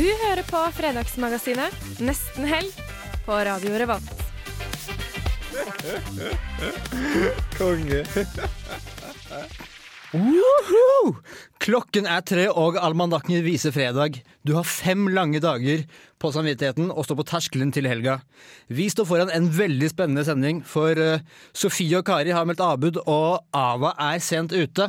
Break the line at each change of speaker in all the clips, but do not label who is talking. Du hører på Fredagsmagasinet Nesten helg på Radio Revolt.
Konge.
Woohoo! Klokken er tre, og almanakken viser fredag. Du har fem lange dager på samvittigheten og står på terskelen til helga. Vi står foran en veldig spennende sending, for eh, Sofie og Kari har meldt avbud, og Ava er sent ute.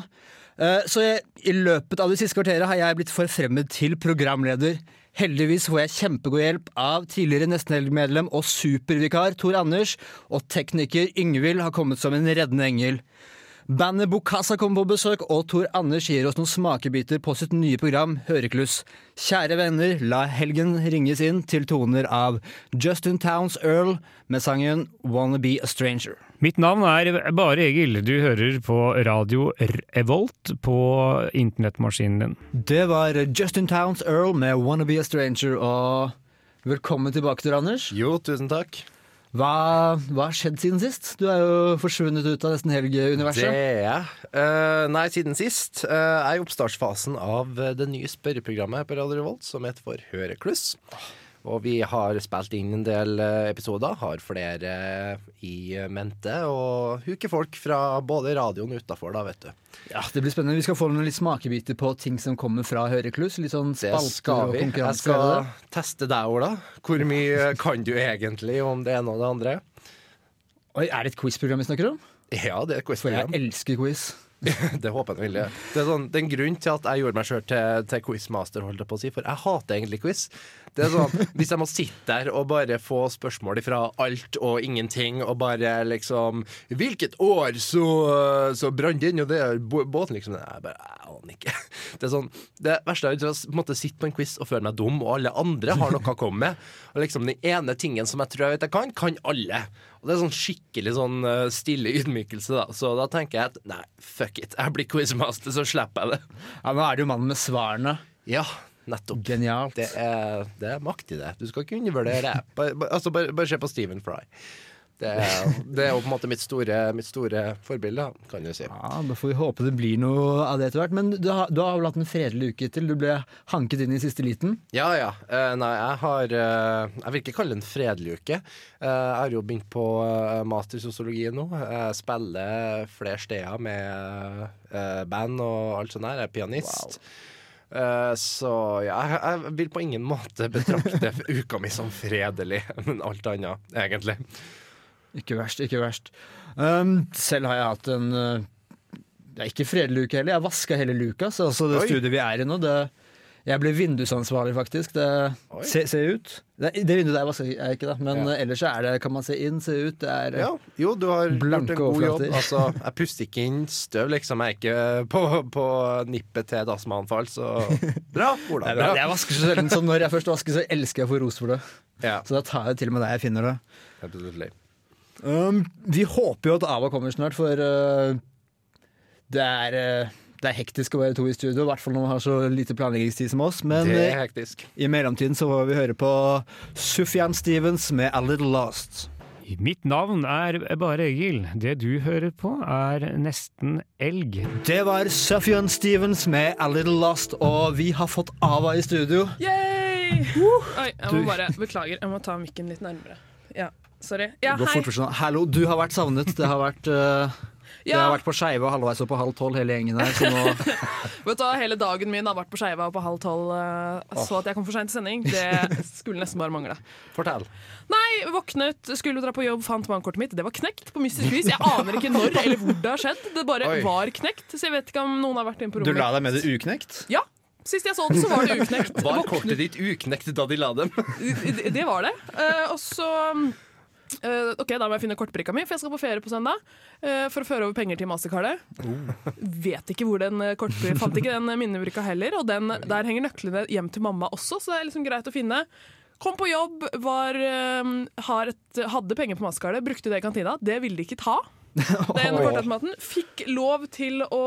Eh, så jeg, i løpet av det siste kvarteret har jeg blitt forfremmet til programleder. Heldigvis får jeg kjempegod hjelp av tidligere Nestenhelg-medlem og supervikar Tor Anders, og tekniker Yngvild har kommet som en reddende engel. Bandet Bokassa kommer på besøk, og Tor Anders gir oss noen smakebiter på sitt nye program Hørekluss. Kjære venner, la helgen ringes inn til toner av Justin Towns Earl med sangen Wanna Be A Stranger.
Mitt navn er Bare Egil. Du hører på radio Revolt på internettmaskinen din.
Det var Justin Towns Earl med Wanna Be A Stranger, og velkommen tilbake, Tor Anders.
Jo, tusen takk.
Hva, hva har skjedd siden sist? Du er jo forsvunnet ut av nesten
Det
helgeuniverset.
er jeg. Eh, nei, siden sist eh, er i oppstartsfasen av eh, det nye spørreprogrammet på Radio Revolt, som heter for Hørekluss. Og vi har spilt inn en del eh, episoder, har flere eh, i mente, og huker folk fra både radioen og utafor, da, vet du.
Ja, det blir spennende. Vi skal få noen litt smakebiter på ting som kommer fra Hørekluss. Litt sånn
Det
spalter
skal
og
vi.
konkurranse. er
Jeg skal
det det?
teste deg, Ola. Hvor mye kan du egentlig om det ene og det andre?
Oi, er det et quizprogram vi snakker om?
Ja, det
For
er et
jeg
quizprogram.
elsker quiz.
Det håper jeg veldig. Det er sånn, det er en grunn til at jeg gjorde meg sjøl til, til quizmaster, holdt jeg på å si, for jeg hater egentlig quiz. Det er sånn, Hvis jeg må sitte der og bare få spørsmål fra alt og ingenting, og bare liksom 'Hvilket år så, så brant det inn?' Og det er bå- båten, liksom. Jeg bare jeg aner ikke. Det er sånn, det verste er å måtte sitte på en quiz og føle meg dum, og alle andre har noe å komme med. Og liksom Den ene tingen som jeg tror jeg vet jeg kan, kan alle. Og Det er sånn skikkelig sånn eh, stille ydmykelse, da. Så da tenker jeg at nei, fuck it. Jeg blir quizmaster, så slipper jeg det.
Ja, Nå er det jo mannen med svarene.
Ja, nettopp.
Genialt.
Det er, det er makt i det. Du skal ikke undervurdere det. Bare, bare, altså, bare, bare se på Stephen Fry. Det er, det er jo på en måte mitt store, mitt store forbilde, da, kan du si.
Ja, Da får vi håpe det blir noe av det etter hvert. Men du har, du har vel hatt en fredelig uke til? Du ble hanket inn i siste liten.
Ja ja. Eh, nei, jeg har eh, Jeg vil ikke kalle det en fredelig uke. Eh, jeg har jo begynt på eh, master i sosiologi nå. Jeg spiller flere steder med eh, band og alt sånt der. Jeg er pianist. Eh, så ja, jeg, jeg vil på ingen måte betrakte uka mi som fredelig, men alt annet, egentlig.
Ikke verst, ikke verst. Um, selv har jeg hatt en uh, Det er ikke fredelig uke heller. Jeg vaska hele luka. Så altså det
Oi.
studiet vi er i nå det, Jeg ble vindusansvarlig, faktisk.
Oi.
Det ser se ut. Det, det vinduet der vasker jeg ikke, da. Men
Ja.
uh, ellers så er det, kan man se inn, se ut. Det er
Ja, jo, du har
Blanke
gjort en god jobb.
overflater.
Altså, jeg puster ikke inn støv, liksom. Jeg er ikke på, på nippet til et astmaanfall, så bra, Ola.
Jeg,
Bra.
jeg vasker så sjelden, så når jeg først vasker, så elsker jeg å få ros for det.
Ja,
Så da tar jeg det til meg der jeg finner det.
absolutt.
Um, vi håper jo at Ava kommer snart, for uh, det, er, uh, det er hektisk å være to i studio. I hvert fall når man har så lite planleggingstid som oss. Men
Det er
uh,
hektisk.
i mellomtiden så får vi høre på Sufjan Stevens med A Little Lost.
Mitt navn er Bare Egil. Det du hører på, er nesten elg.
Det var Sufjan Stevens med A Little Lost, og vi har fått Ava i studio.
Yay! Oi, jeg må
Du-
bare Beklager, jeg må ta mikken litt nærmere. Ja, sorry. Ja,
Gå
hei.
fort for sånn. Hallo, du har vært savnet. Det har vært, uh, det
Ja,
har vært på skeive og halvveis og på halv tolv, hele gjengen her. Så nå
vet du hva, Hele dagen min har vært på skeiva og på halv tolv. eh, Så at jeg kom for seint til sending, det skulle nesten bare mangle.
Fortell.
Nei, våknet, skulle dra på jobb, fant bankkortet mitt. Det var knekt på mystisk vis. Jeg aner ikke når eller hvor det har skjedd. Det bare
Oi.
var knekt. Så jeg vet ikke om noen har vært inne på
Du
rommet.
la
mitt.
deg med det uknekt?
Ja, Sist jeg så det, så var det uknekt.
Var kortet ditt uknekt da de la dem?
Det det var det. Eh, og så Eh, ok, Da må jeg finne kortbrikka mi, for jeg skal på ferie på søndag. eh, for å føre over penger til mastercardet. Vet ikke hvor den eh, kortbrikka Fant ikke den eh, minnebrikka heller. Og den, der henger nøklene hjem til mamma også, så det er liksom greit å finne. Kom på jobb, var, eh, har et, hadde penger på mastercardet, brukte det i kantina. Det ville de ikke ta. Den kortautomaten fikk lov til å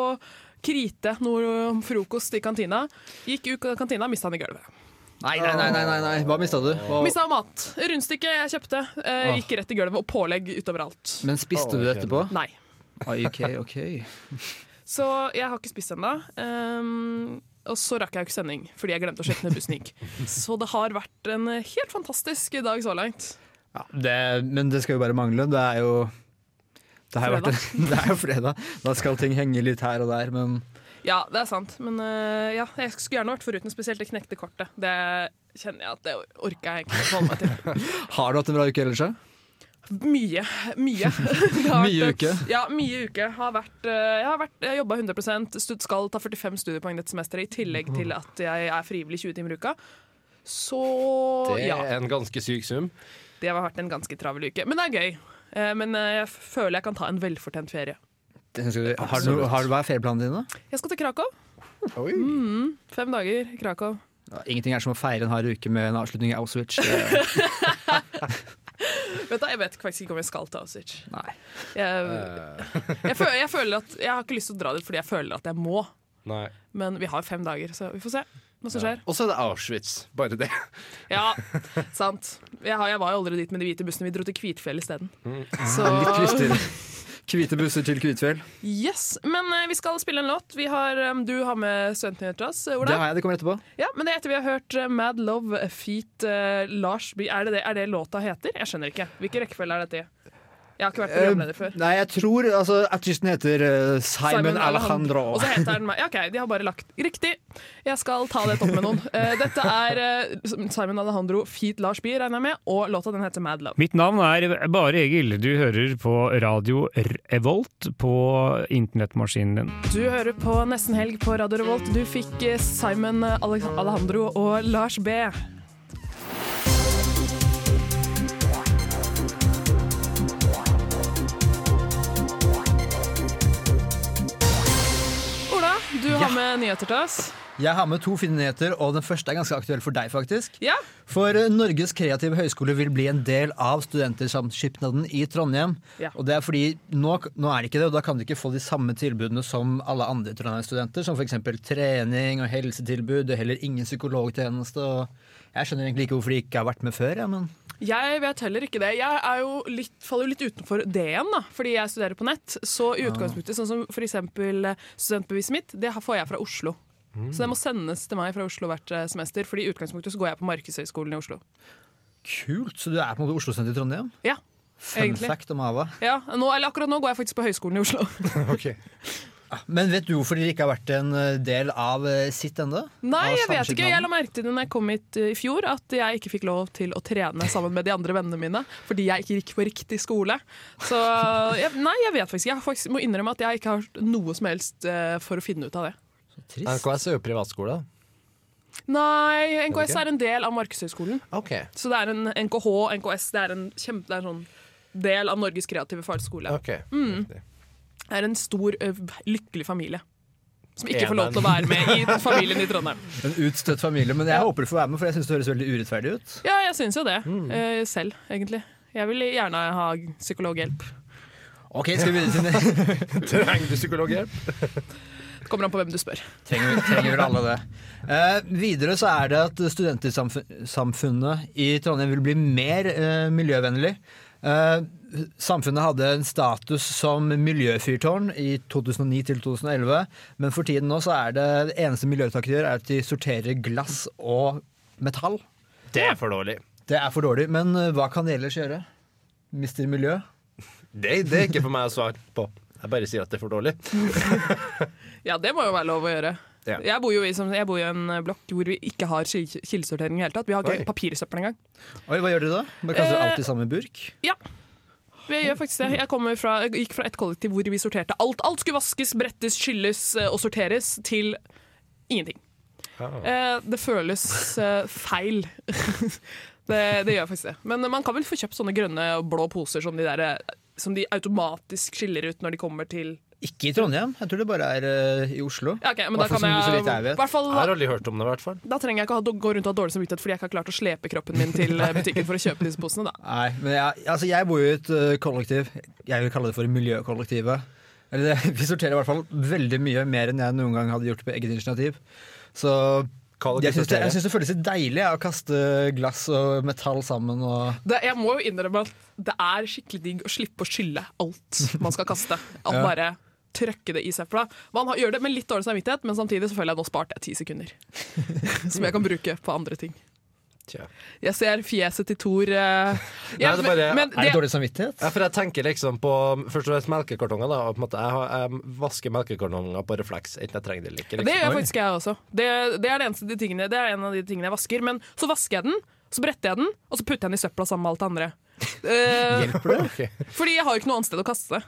krite noe frokost i kantina. Gikk ut av kantina, mista den i gulvet.
Nei, nei, nei, nei, nei, nei. Hva mista du? Hva-
Mista mat. Rundstykket jeg kjøpte, eh, gikk rett i gulvet, og pålegg utover alt.
Men spiste du etterpå?
Nei.
Ah, ok, ok.
Så jeg har ikke spist ennå. ehm, og så rakk jeg jo ikke sending, fordi jeg glemte å sjekke når bussen gikk. Så det har vært en eh, helt fantastisk dag så langt.
Ja, det, men det skal jo bare mangle. Det er jo det, har jo vært, det er jo fredag. Da skal ting henge litt her og der, men
Ja, det er sant. Men eh, ja, jeg skulle gjerne vært foruten spesielt det knekte kortet. Det kjenner jeg at det orker jeg ikke forholde meg til.
har du hatt en bra uke ellers? da?
Mye. Mye. Det har
Mye
vært, eh,
uke.
Ja, mye uke. Har vært, eh, jeg har vært, jeg jobba 100 stud skal ta 45 studiepoeng dette semesteret, i tillegg
Mm.
til at jeg er frivillig 20 timer i uka. Så
Det
ja.
er en ganske syk sum.
Det har vært en ganske travel uke, men det er gøy. Eh, Men eh, jeg føler jeg kan ta en velfortjent ferie.
Det skal vi- Har du, noe- har du hva er ferieplanene dine? da?
Jeg skal til Krakow. Mm, fem dager i Krakow.
Ja, ingenting er som å feire en hard uke med en avslutning i Auschwitz. Det-
Vet du, jeg vet faktisk ikke om jeg skal til Auschwitz.
Nei. Eh.
Jeg,
Eh,
jeg, føler, jeg, føler at, jeg har ikke lyst til å dra dit fordi jeg føler at jeg må,
Nei.
men vi har fem dager, så vi får se hva som skjer.
Og så er det Auschwitz. Bare det.
Ja, sant. Jeg, har, jeg var jo aldri dit med de hvite bussene. Vi dro til Kvitfjell isteden.
Mm.
Så
Eh, Hvite busser til Kvitfjell.
Yes. Men eh, vi skal spille en låt. Vi har, eh, du har med studentnyheter til oss, eh, Ola.
Det har jeg, det kommer etterpå.
Ja, men det er etter vi har hørt eh, Mad Love feat eh, Lars By. Er det, det, er det låta heter? Jeg skjønner ikke. Hvilken rekkefølge er dette i? Jeg har ikke vært programleder før.
Eh, nei, jeg tror altså, artisten heter eh, Simon, Alejandro.
Og så heter den meg. Ja, OK, de har bare lagt Riktig! Jeg skal ta det opp med noen. Eh, dette er eh, Simon Alejandro feat Lars By, regner jeg med, og låta den heter Mad Love.
Mitt navn er Bare Egil. Du hører på radio Revolt på internettmaskinen din.
Du hører på Nesten Helg på Radio Revolt. Du fikk eh, Simon Ale- Alejandro og Lars B. Ola, du har med nyheter til oss.
Jeg har med to fine nyheter, og den første er ganske aktuell for deg, faktisk.
Ja,
For eh, Norges kreative høgskole vil bli en del av Studentersamskipnaden i Trondheim.
Ja.
Og det er fordi nå, nå er det ikke det, og da kan de ikke få de samme tilbudene som alle andre Trondheim-studenter, som f.eks. trening og helsetilbud, og heller ingen psykologtjeneste. Og jeg skjønner egentlig ikke hvorfor de ikke har vært med før, ja, men
jeg vet heller ikke det. Jeg er jo litt, faller jo litt utenfor det igjen, da, fordi jeg studerer på nett. Så
Ah.
i utgangspunktet, sånn som f.eks. studentbeviset mitt, det får jeg fra Oslo.
Mm.
Så det må sendes til meg fra Oslo hvert eh, semester, fordi i utgangspunktet så går jeg på Markedshøgskolen i Oslo.
kult. Så du er på en måte Oslo Senter i Trondheim?
Ja,
Fun
Egentlig.
fact om Ava.
ja nå, eller akkurat nå går jeg faktisk på Høgskolen i Oslo.
Men vet du hvorfor de ikke har vært en eh, del av eh, sitt ennå?
Nei,
Av
jeg vet ikke. Jeg
samskipnaden?
la merke til det når jeg kom hit eh, i fjor, at jeg ikke fikk lov til å trene sammen med de andre vennene mine, fordi jeg ikke gikk på riktig skole. Så jeg, nei, jeg vet faktisk. Jeg har faktisk må innrømme at jeg ikke har noe som helst eh, for å finne ut av det.
Trist.
NKS er jo privatskole.
Nei, NKS
ikke?
er en del av Markedshøgskolen.
OK.
Så det er en NKH, NKS, det er en kjempe... Det er en sånn del av Norges kreative fagskole.
ok.
Det er en stor, ø, lykkelig familie. Som ikke
Ja,
får lov til å være med i familien i Trondheim.
En utstøtt familie. Men jeg håper du får være med, for jeg syns det høres veldig urettferdig ut.
Ja, jeg syns jo det. Eh, selv, egentlig. Jeg vil gjerne ha psykologhjelp.
Ok, skal vi videre til neste?
Trenger du psykologhjelp?
Det kommer an på hvem du spør.
Trenger, trenger vel alle det. Eh, videre så er det at studentersamfunnet i Trondheim vil bli mer eh, miljøvennlig. Eh, samfunnet hadde en status som miljøfyrtårn i 2009 til 2011, men for tiden nå så er det, det eneste miljøtiltaket de gjør, er at de sorterer glass og metall.
Det er for dårlig.
Det er for dårlig, men eh, hva kan de ellers gjøre? Mister miljø?
Det, det er ikke for meg å svare på. Jeg bare sier at det er for dårlig.
Ja, det må jo være lov å gjøre.
Ja.
Jeg bor jo i, som, jeg bor i en blokk hvor vi ikke har kil- kildesortering i det hele tatt. Vi har
Oi.
ikke papirsøppel engang.
Oi, hva gjør de da? Bare kaster
Eh,
alt i samme burk?
Ja. Vi gjør faktisk det. Jeg, kommer fra, jeg gikk fra et kollektiv hvor vi sorterte alt. Alt skulle vaskes, brettes, skylles eh, og sorteres til
Ah.
ingenting. Eh, det føles eh, feil. Det, det gjør faktisk det. Men man kan vel få kjøpt sånne grønne og blå poser som de, der, eh, som de automatisk skiller ut når de kommer til
Ikke i Trondheim, jeg tror det bare er eh, i Oslo.
Ja, ok, men da
Hvertfall som-
kan
så
jeg,
vidt jeg vet.
hvert fall,
Jeg har aldri hørt om det, i hvert fall.
Da trenger jeg ikke ha, gå rundt og ha dårlig samvittighet fordi jeg ikke har klart å slepe kroppen min til eh, butikken for å kjøpe disse posene. da.
Nei,
Men jeg, altså jeg bor jo i et eh, kollektiv. Jeg vil kalle det for miljøkollektivet. Eller det, vi sorterer i hvert fall veldig mye mer enn jeg noen gang hadde gjort på eget initiativ. Så
Kall det
jeg syns det,
sortere.
jeg syns det føles litt deilig ja, å kaste glass og metall sammen. Og,
Det, jeg må jo innrømme at det er skikkelig digg å slippe å skylle alt man skal kaste. At bare trøkke det i søpla. Man har, gjør det med litt dårlig samvittighet, men samtidig så føler jeg nå sparte jeg ti sekunder. Som jeg kan bruke på andre ting.
Tja.
Jeg ser fjeset til Tor eh,
Nei, det er bare-
men
er det dårlig samvittighet?
Ja, for jeg tenker liksom på først og fremst melkekartonger. da, og på en måte, jeg, har, jeg vasker melkekartonger på refleks, enten jeg trenger det eller ikke.
Det
Liksom.
gjør faktisk jeg også. Det, det, er det, eneste, de tingene, det er en av de tingene jeg vasker. Men så vasker jeg den, så bretter jeg den, og så putter jeg den i søpla sammen med alt det andre. Eh,
Ok.
fordi jeg har jo ikke noe annet sted å kaste det.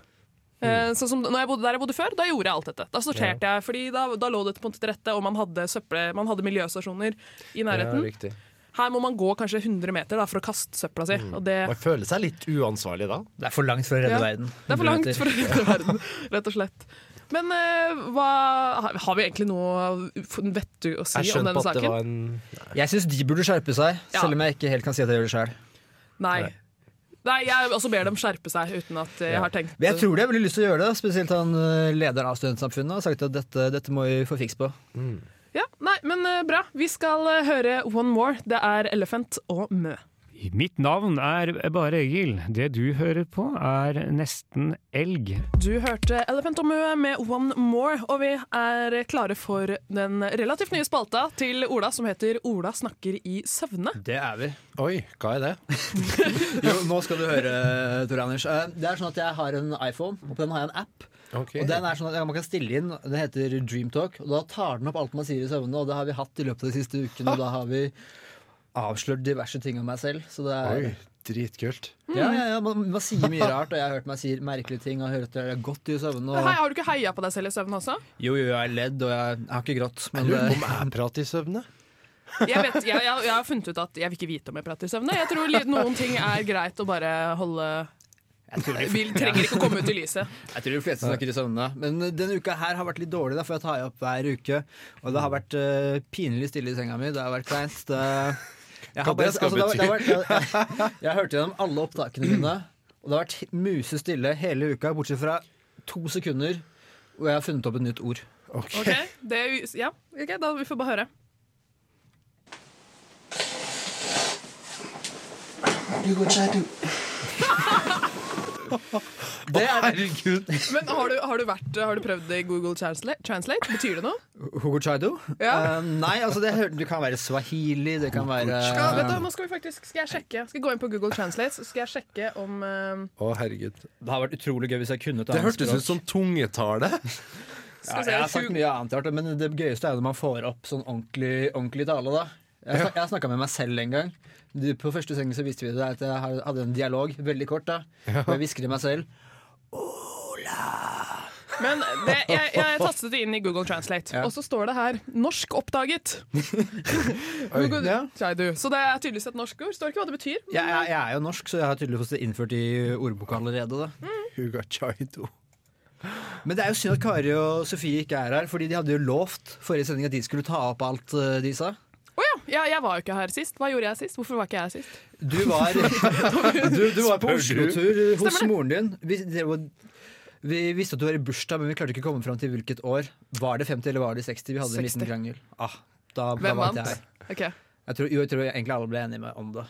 Mm.
Eh, sånn som når jeg bodde, der jeg bodde før, da gjorde jeg alt dette. Da sorterte jeg, fordi da, da lå det på en måte til rette, og man hadde, søppel- man hadde miljøstasjoner i
Ja,
nærheten.
riktig. Mm.
Her må man gå kanskje 100 meter da, for å kaste søpla si. Og det,
Man føler seg litt uansvarlig da.
Det er for langt for å redde
Ja.
verden.
det er for langt for å redde verden, rett og slett. Men eh, hva, har har vi egentlig noe vettu å si
Jeg
om
skjønte
denne
på at det
saken?
var en
Jeg syns de burde skjerpe seg,
Ja.
selv om jeg ikke helt kan si at jeg gjør det sjøl.
Nei. Nei, jeg også ber dem skjerpe seg uten at jeg har tenkt
Men jeg tror de har veldig lyst til å gjøre det. Spesielt han eh, lederen av Studentsamfunnet har sagt at dette, dette må vi få fiks på.
Ja, nei, men eh, bra. Vi skal eh, høre One More. Det er Elephant og Mø.
Mitt navn er Bare Egil. Det du hører på, er nesten elg.
Du hørte Elephant og Mø med One More, og vi er klare for den relativt nye spalta til Ola som heter Ola snakker i søvne.
Det er vi.
Oi, hva er det?
Jo, nå skal du høre, Tor Anders. Eh, Det er sånn at jeg har en iPhone, og på den har jeg en app.
Ok.
Og den er sånn at Man kan stille inn, den heter Dreamtalk, og da tar den opp alt man sier i søvne. Og det har vi hatt i løpet av de siste ukene, og da har vi avslørt diverse ting om meg selv. Så det er,
Oi, dritkult.
ja, ja, ja, man, man sier mye rart, og jeg har hørt meg si merkelige ting, og hørt at jeg har gått i søvne.
Hei,
Og,
har du ikke heia på deg selv i søvne også?
jo, jo, jeg har ledd, og jeg, jeg har ikke grått.
Jeg
Men
lurer på
det,
om jeg prater i søvne.
Jeg, vet, jeg, jeg, jeg har funnet ut at jeg vil ikke vite om jeg prater i søvne. Jeg tror li- noen ting er greit å bare holde Vi trenger ikke å komme ut i lyset.
Jeg tror de fleste snakker i søvne. Men denne uka her har vært litt dårlig, da, for jeg tar jo opp hver uke. Og det har
Mm.
vært eh, pinlig stille i senga mi. Det har vært kleint. Det, jeg, har
Hva
bare,
det skal
altså, det har- det har vært, jeg, jeg, jeg hørte gjennom alle opptakene mine, og det har vært musestille hele uka, bortsett fra to sekunder hvor jeg har funnet opp et nytt ord.
Ok, det, er jo- ja, ok, da vi får bare høre.
Herregud.
Men har du, har du, vært, har du prøvd det i Google Translate? Translate? Betyr det noe?
Hugo Chaido?
Ja.
Eh, nei, altså det, hør- det kan være swahili, det kan være
Ja, vet du, nå skal vi faktisk Skal jeg sjekke Skal jeg gå inn på Google Translate, så skal jeg sjekke om eh,
Å, herregud.
Det har vært utrolig gøy hvis jeg kunne et
Det
annet
hørtes
språk.
ut som tungetale.
Ja,
Skal
jeg har
vi se
sagt
Hugo-
mye annet rart, men det gøyeste er jo når man får opp sånn ordentlig, ordentlig tale, da. Jeg, snak, jeg snakka med meg selv en gang. Du, på første sengen så visste vi det at jeg har- hadde en dialog, veldig kort, da. Og jeg hvisker til meg selv.
Men det, jeg, jeg tastet det inn i Google Translate, og så står det her 'norsk oppdaget'. Google,
Ja.
Sier du. Så det er tydeligvis et norsk ord. Står ikke hva det betyr.
Jeg, jeg, jeg er jo norsk, så jeg har tydeligvis fått det innført i ordboka allerede, da.
Huga Chaido.
Men det er jo synd at Kari og Sofie ikke er her, fordi de hadde jo lovt forrige sending at de skulle ta opp alt eh, de sa.
Å ja, ja! Jeg var jo ikke her sist. Hva gjorde jeg sist? Hvorfor var ikke jeg her sist?
Du var, du, du var på Oslo-tur hos
Stemmer det.
moren din. Vi, det var, vi visste at du var i bursdag, men vi klarte ikke å komme fram til hvilket år. Var det 50 eller var det 60? Vi hadde en
60.
liten krangel. Ah, da, da
Hvem
vant
vant?
jeg.
Ok.
Jeg tror, jo, jeg tror egentlig alle ble enige med om det.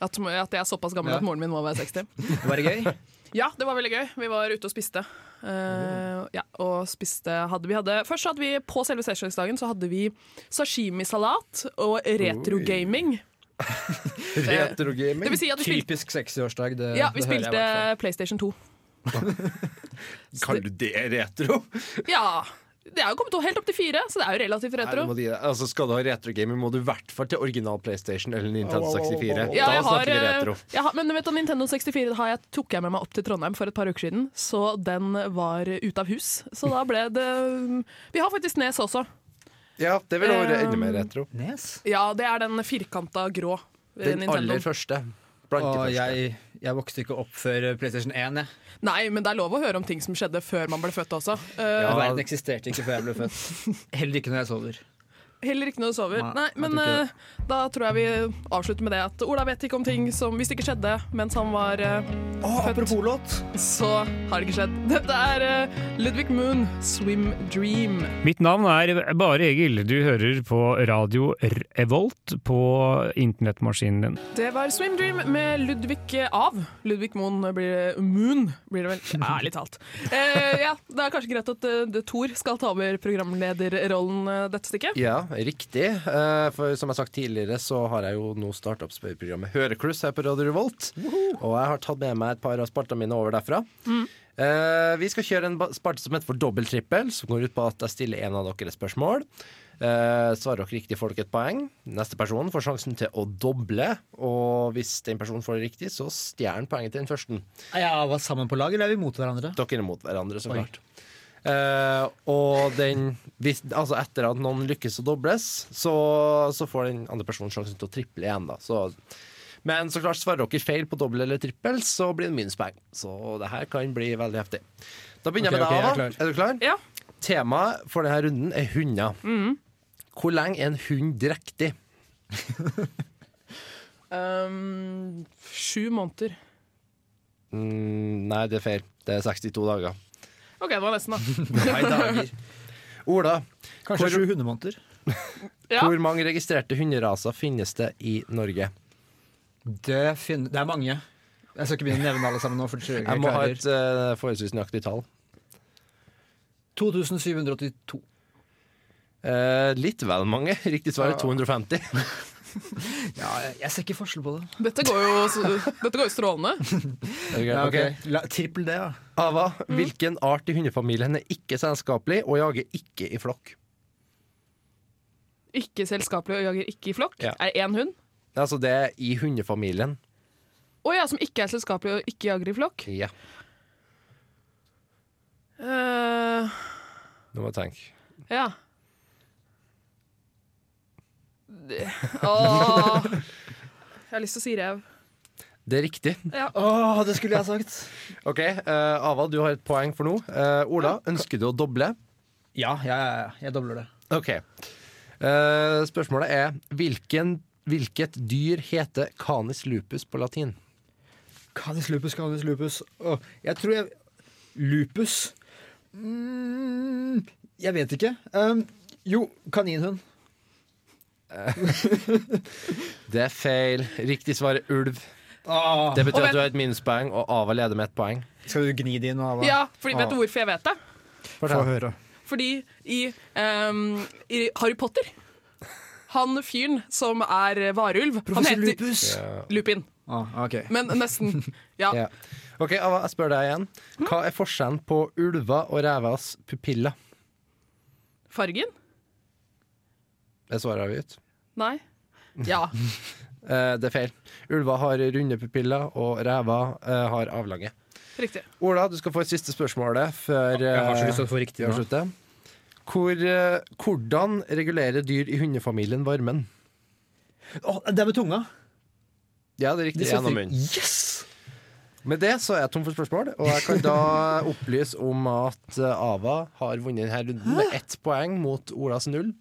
At, at jeg er såpass gammel
Ja.
at moren min må være 60.
Var det gøy?
Ja, det var veldig gøy. Vi var ute og spiste. Eh, ja, og spiste hadde vi hadde, Først hadde vi på selve sesjonsdagen så hadde vi sashimisalat og retrogaming. Det
Retrogaming.
vil si at vi spilte,
Typisk 60-årsdag. Det,
ja, vi
det hører jeg i
spilte
hvert fall.
PlayStation 2.
Kaller du det retro?
Ja. Det er jo kommet helt opp til fire, så det er jo relativt
Nei, du
retro.
må gi deg. altså, skal du ha retrogaming, må du i hvert fall til original PlayStation eller Nintendo 64.
Ja,
Da
jeg har,
snakker vi
eh,
retro.
jeg har, men du vet, du, Nintendo 64 har jeg, tok jeg med meg opp til Trondheim for et par uker siden, så den var ute av hus. Så da ble det Vi har faktisk Nes også.
Ja, det ville vært enda mer
Um,
retro.
Nes?
Ja, det er den firkanta grå. eh,
Den
Nintendo.
aller første. Blant
Og
de første.
jeg, jeg vokste ikke opp før PlayStation 1. Jeg.
Nei, men det er lov å høre om ting som skjedde før man ble født også. Eh,
Ja.
Verden eksisterte ikke før jeg ble født. Heller ikke når jeg sover.
Heller ikke når du sover.
Nei,
Nei,
jeg
men
tror ikke det.
eh, da tror jeg vi avslutter med det at Ola vet ikke om ting som hvis det ikke skjedde mens han var eh, født.
Apropos låt.
Så har det ikke skjedd. Dette er eh, Ludvig Moon, 'Swim Dream'.
Mitt navn er Bare Egil. Du hører på Radio Revolt på internettmaskinen din.
Det var Swim Dream med Ludvig eh, av. Ludvig Moon blir det Moon, blir det vel. Ærlig talt. Eh, ja, det er kanskje greit at eh, det Thor skal ta over programlederrollen eh, dette stykket.
Ja, riktig. Eh, For som jeg har sagt tidligere, så har jeg jo nå starta opp spørreprogrammet Hørekluss her på Radio Revolt. Og jeg har tatt med meg et par av spaltene mine over derfra. Eh, vi skal kjøre en ba- spalte som heter for dobbelttrippel, som går ut på at jeg stiller en av dere et spørsmål. Eh, svarer dere riktig, får dere et poeng. Neste person får sjansen til å doble. Og hvis den personen får det riktig, så stjeler han poenget til den første.
Ja, var sammen på lag, eller er vi mot hverandre?
Dere er mot hverandre, så klart. Eh, og den hvis, Altså etter at noen lykkes å dobles, så, så får den andre personen sjansen til å triple igjen, da. Så, men så klart svarer dere feil på dobbel eller trippel, så blir det minuspoeng. Så det her kan bli veldig heftig. Da
Ok,
begynner
ok,
jeg med deg,
jeg er
Ava. Er du klar?
Ja.
Temaet for denne runden er hunder. Hvor lenge er en hund drektig?
Um, sju måneder.
Mm, nei, det er feil. Det er 62 dager.
OK, det var nesten, da.
Nei, dager. Ola,
Kanskje
Hvor-
sju hundemåneder?
Ja.
hvor mange registrerte hunderaser finnes det i Norge?
Det, fin- det er mange. Jeg skal ikke begynne å nevne alle sammen nå. For det tror jeg ikke
Jeg
jeg
må ha
klarer.
et eh, forholdsvis nøyaktig tall.
2782.
Eh, litt vel mange. Riktig svar er 250.
Ja, jeg, jeg ser ikke forskjell på det.
Dette går jo, dette går jo strålende.
Ja,
Ok.
ok. La, trippel det, da.
Ava, hvilken art i hundefamilien er ikke selskapelig og jager ikke i flokk?
Ikke selskapelig og jager ikke i flokk.
Ja.
Er det én hund?
Altså, det er i hundefamilien.
Å ja, som ikke er selskapelig og ikke jager i flokk.
Ja,
Eh,
nå må jeg tenke.
ja. Det- Åh. Jeg har lyst til å si rev.
Det er riktig.
Åh, det skulle jeg sagt.
Ok, eh, Ava, du har et poeng for nå. Eh, Ola, ønsker du å doble?
Ja, ja, ja, ja. jeg dobler det.
Ok. Eh, spørsmålet er hvilken, hvilket dyr heter canis lupus på latin?
Canis lupus, canis lupus. Åh, jeg tror jeg Lupus mm, Jeg vet ikke. Um, jo, kaninhund.
Det er feil. Riktig svar er ulv.
Åh,
Det betyr
Og
at du har et minuspoeng, og Ava leder med ett poeng.
skal du gni det inn? Ava?
Ja, fordi, vet du
Åh.
hvorfor jeg vet det?
Få høre.
Fordi i, ehm, i Harry Potter Han fyren som er varulv
Professor
Han heter
Lupus.
Lupin,
Åh, ok.
men nesten. Ja.
Ja. Ok, Ava, jeg spør deg igjen. Hva er forskjellen på ulver og revers pupiller?
Fargen?
Det svarer vi ut.
Nei. Ja.
Eh, det er feil. Ulver har runde pupiller, og rever eh, har avlange.
Riktig.
Ola, du skal få et siste spørsmål det, før
Jeg har så lyst til
eh,
å få riktig
vi
nå.
avslutter. Hvor, eh, hvordan regulerer dyr i hundefamilien varmen?
Åh, det er med tunga.
Ja, det er riktig. Gjennom munnen.
Yes!
Med det så er jeg tom for spørsmål, og jeg kan da opplyse om at eh, Ava har vunnet denne runden med ett poeng mot Olas null.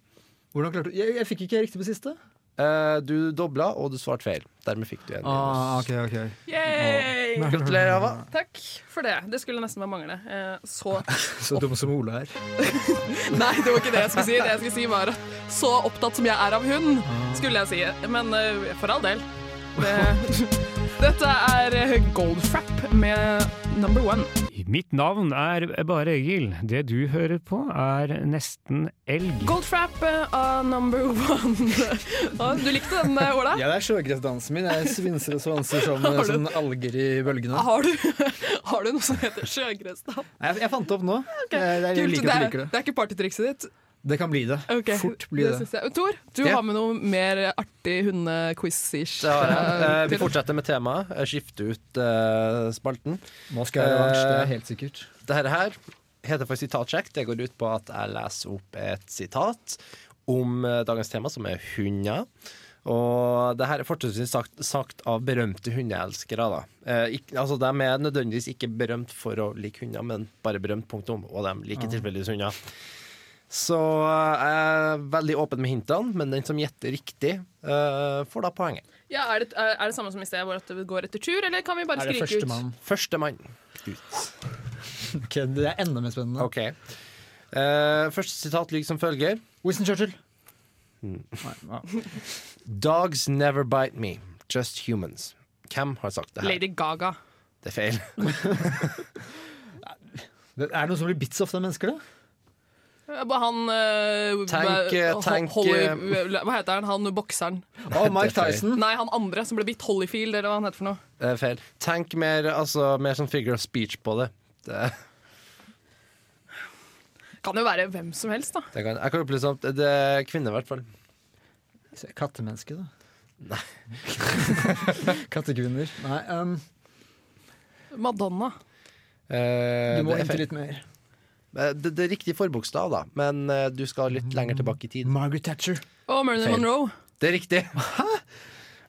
Hvordan klarte du? Jeg, jeg fikk ikke riktig på siste.
Eh, Du dobla, og du svarte feil. Dermed fikk du en minus.
Ah, ok, ok
Yay!
Gratulerer, Ava.
Takk for det. Det skulle nesten være manglende. Eh, så
Så dum som Ola er.
Nei, det var ikke det jeg skulle si. Det jeg skulle si var at Så opptatt som jeg er av hund, skulle jeg si. Men eh, for all del. Det, dette er Goldfrap med Number One.
Mitt navn er Bare Egil. Det du hører på, er Nesten Elg.
Goldfrap eh, av Number One. Ja, du likte den, eh, Ola?
Ja, det er sjøgressdansen min. Jeg svinser og svanser som eh, sånn alger i bølgene.
Har du, har du noe som heter sjøgressdans?
Nei, Jeg, jeg fant det opp nå. Jeg, jeg,
Kult,
liker
det,
at du
er-
liker
det
det.
er ikke partytrikset ditt.
Det kan bli det.
Ok,
Fort blir det.
synes jeg. Tor, du
Ja.
har med noe mer artig hundequiz-ish.
Det har jeg. Eh,
eh,
Vi
til-
fortsetter med temaet. Jeg skifter ut eh, spalten.
Nå skal jeg ha revansj, det
Eh,
er helt sikkert.
Dette her heter for sitatsjekk. Det går ut på at jeg leser opp et sitat om eh, dagens tema, som er hunder. Og det her er fortrinnsvis sagt, sagt av berømte hundeelskere. Da. Eh, ikk- altså, de er nødvendigvis ikke berømt for å like hunder, men bare berømt, punktum. Og de liker tilfeldigvis hunder. Så eh, jeg er veldig åpen med hintene, men den som gjetter riktig, eh, får da poenget.
Ja, er, det, er det samme som i sted, hvor at det går etter tur, eller kan vi bare
Er det
skrike ut?
førstemann?
Førstemann ut.
Ok, det er enda mer spennende.
OK. Eh, første sitat lyder som følger.
Winston Churchill.
Dogs never bite me, just humans. Hvem har sagt det her?
Lady Gaga.
Det er feil.
Det er det noen som blir bitt så ofte av mennesker, da?
Eh, bare Han eh,
Tank, eh,
Ho-
tank,
Holly,
eh,
Hva heter han? Han bokseren?
Å, Mike Tyson.
Nei, han andre som ble bitt. Hollyfield, eller hva han heter for noe.
Det er feil. Tenk mer, altså, mer sånn figure of speech på det. Det,
Kan jo være hvem som helst, da.
det kan, jeg kan opplyse om at det er kvinne, i hvert fall.
Kattemenneske, da. Nei. Kattekvinner. Nei, um,
Madonna.
Eh,
du må
det, er
hente
feil.
litt mer.
Eh, det, det er riktig forbokstav, da, men eh, du skal litt lenger tilbake i tid.
Margaret Thatcher.
Og Marilyn
Feil.
Monroe.
Det er riktig!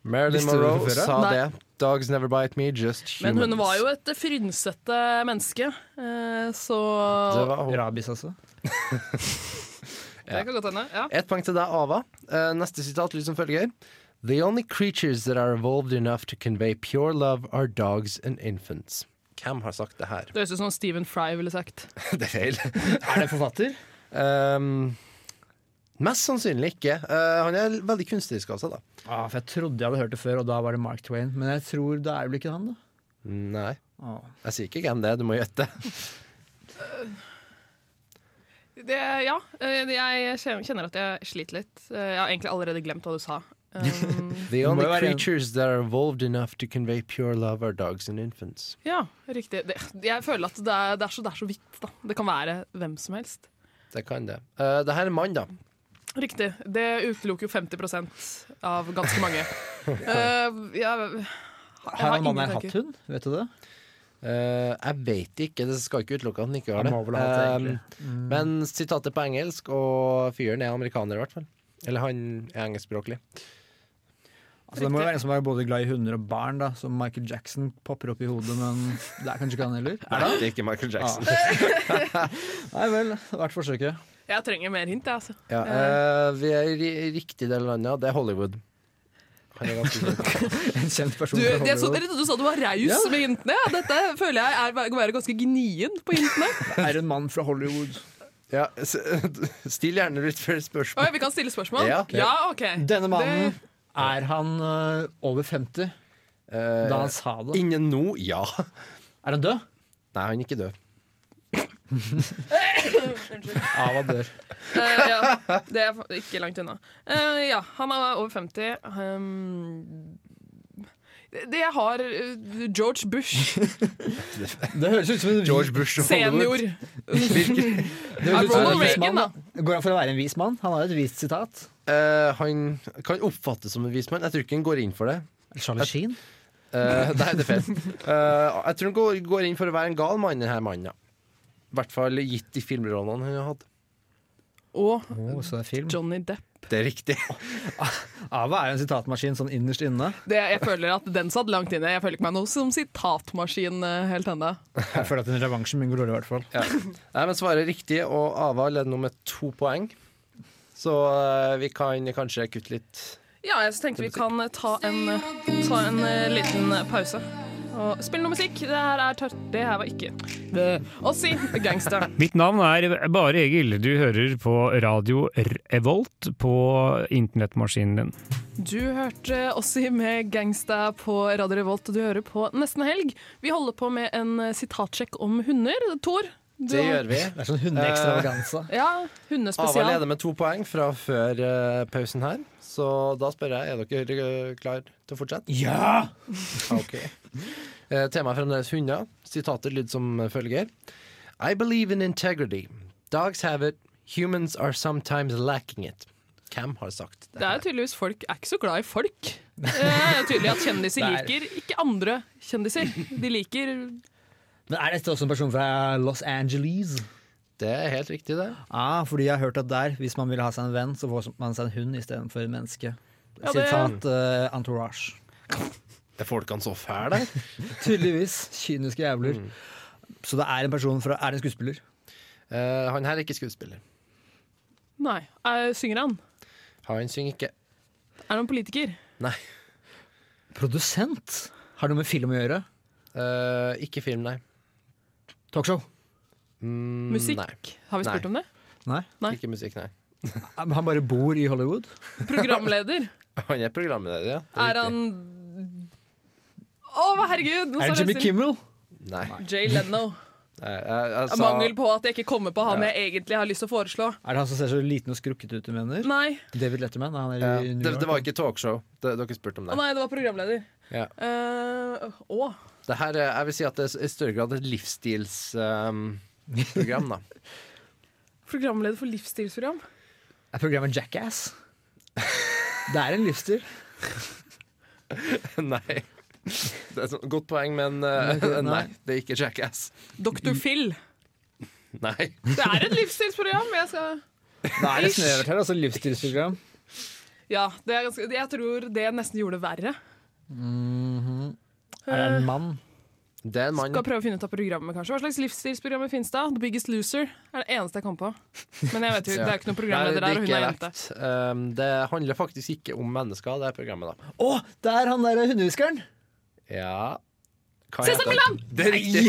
Marilyn
Visste du det fra
Monroe
før, da?
sa
Nei.
det. Dogs never bite me, just humans.
Men hun var jo et frynsete menneske, eh, så
Det var hun.
Rabis, altså.
Det kan godt hende. Ja.
Ett poeng til deg, Ava. Eh, neste sitat lyder som følger. The only creatures that are evolved enough to convey pure love are dogs and infants. Hvem har sagt det her?
Det høres ut som Stephen Fry ville sagt.
Det er feil.
Er det forfatter?
Ehm, mest sannsynlig ikke. Eh, han er veldig kunstnerisk av seg, da.
Ah, for Jeg trodde jeg hadde hørt det før, og da var det Mark Twain. Men jeg tror da er det vel ikke han, da.
Nei.
Ah.
Jeg sier ikke hvem det er, du må gjette.
Det, ja, eh, jeg kjen- kjenner at jeg sliter litt. Eh, Jeg har egentlig allerede glemt hva du sa. Um,
The
må
only
jo være en-
creatures that are evolved enough to convey pure love are dogs and infants.
ja, riktig. Det, jeg føler at det er, det, er så, det er så vidt, da. Det kan være hvem som helst.
Det kan det. Eh, det her er mann, da.
Riktig. Det utelukker jo 50 av ganske mange. Eh, jeg, jeg
Har han
ingen
mannen her
tanker.
hatt hund? Vet du det?
Eh, jeg vet ikke, det skal ikke utelukke at han ikke har det.
Han må vel ha hatt det, Mm.
Eh, Men sitatet er på engelsk, og fyren er amerikaner, i hvert fall. Eller han er engelskspråklig.
Altså, det må jo være en som er både glad i hunder og barn, da, som Michael Jackson popper opp i hodet, men det er kanskje ikke han heller?
Er det? er ikke Michael Jackson.
Nei vel, verdt forsøket.
Jeg trenger mer hint, jeg, altså.
Ja, eh, vi er i riktig del av landet, og det er Hollywood. Han er ganske kjent.
En kjent
Du,
person
jeg
fra
så,
Hollywood.
du sa du var raus
Ja.
med hintene. Ja, dette føler jeg er, kan være ganske gnien på hintene.
Er en mann fra Hollywood.
Ja, s- Still gjerne litt flere spørsmål.
Oi, vi kan stille spørsmål?
Ja.
ok.
Denne mannen,
Det-
er han øh, over 50 da han sa det?
Innen nå, ja.
Er han død?
Nei, han er ikke død.
Ava dør.
Eh, ja, det er ikke langt unna. Eh, ja, han er over 50. Um, det jeg har eh, George Bush,
Det høres ut som en
George Bush og
senior.
Hollywood.
det høres ut som en
Ronald
vis
Reagan,
mann, da. Går han for å være en vis mann? Han har jo et vist sitat.
Eh, han kan oppfattes som en vismann. Jeg tror ikke han går inn for det.
Charlie Sheen?
Eh, nei, det er feil. Eh, jeg tror han går, går inn for å være en gal mann, denne mannen. Ja. I hvert fall gitt de filmrollene han har hatt.
Og
Å, så det er film.
Johnny Depp.
Det er riktig.
Ava er jo en sitatmaskin sånn innerst inne.
Det, jeg føler at Den satt langt inne. Jeg føler ikke meg noe som sitatmaskin eh, helt ennå.
Jeg føler at en revansje min går dårlig, i hvert fall.
Nei, men svaret er riktig, og Ava leder nå med to poeng. Så eh, vi kan kanskje kutte litt.
Ja, jeg tenkte vi kan eh, ta en, ta en eh, liten pause. Og spille noe musikk. Det her er tørt. Det her var ikke Ossi, gangster.
Mitt navn er Bare Egil. Du hører på radio Revolt på internettmaskinen din.
Du hørte Ossi med Gangsta på Radio Revolt, og du hører på Nesten Helg. Vi holder på med en eh, sitatsjekk om hunder. Tor? Du,
Det gjør vi.
Det er sånn hundeekstravaganse.
Ja,
Ava
hundespesial.
leder med to poeng fra før eh, pausen her. Så da spør jeg, er dere uh, klar til å fortsette?
Ja!
Ok. Eh, temaet er fremdeles hunder. Sitatet lyder som følger. I believe in integrity. Dogs have it. Humans are sometimes lacking it. Hvem har sagt det?
Det er jo tydeligvis folk er ikke så glad i folk. Eh, Det er tydelig at kjendiser
Det er-
liker ikke andre kjendiser. De liker
Men er dette også en person fra Los Angeles?
Det er helt riktig, det.
Ah, Ja, fordi jeg har hørt at der, hvis man vil ha seg en venn, så får man seg en hund istedenfor en menneske.
Ja, det-
Sitat eh, Entourage.
Er folkene så fæle der?
Tydeligvis. Kyniske jævler. Så det er en person fra Er det en skuespiller?
Eh, han her er ikke skuespiller.
Nei. Eh, synger han?
Han synger ikke.
Er han politiker?
Produsent? Har det noe med film å gjøre?
Eh, ikke film, nei.
Talkshow?
Mm,
Musikk?
Nei.
Har vi spurt
Nei.
om det?
Nei.
Nei.
Ikke musikk, nei.
Han bare bor i Hollywood?
Programleder?
Han er programleder, ja. Det
er
riktig.
han Å, herregud! Nå
Er det
står
Jimmy
jeg-
Kimmel?
Nei.
Jay Leno.
Nei, jeg, jeg,
Av
sa
Mangel på at jeg ikke kommer på han jeg egentlig har lyst til å foreslå.
Er det han som ser så liten og skrukket ut, du mener?
Nei,
David Letterman? Han er i
Ja,
New
det,
York.
det var ikke talkshow. Det, dere spurte om
Å,
det.
nei det var programleder.
Ja.
Eh, å.
Det her er, jeg vil si at det er i større grad et livsstilsprogram, da.
Programleder for livsstilsprogram.
Er programmet Jackass? Det er en livsstil.
nei. Det er et sånt godt poeng, men eh,
Nei.
nei, det er ikke Jackass.
Dr.
Mm.
Phil.
Nei.
Det er et livsstilsprogram! Jeg skal
Da er det snøvert her, altså. Livsstilsprogram.
Ja, det er ganske Jeg tror det nesten gjorde det verre.
Er det en mann?
Det er en mann.
Skal prøve å finne ut av programmet, kanskje. Hva slags livsstilsprogrammer finnes da? The Biggest Loser er det eneste jeg kom på. Men jeg vet jo, det er jo ikke noe programleder
Nei,
der,
det
og hun
er
er
ikke
jente.
rett. Um, det handler faktisk ikke om mennesker, det er programmet, da.
Å, det er han der hundehviskeren!
Ja Hva
Sesam
heter han? Det er riktig!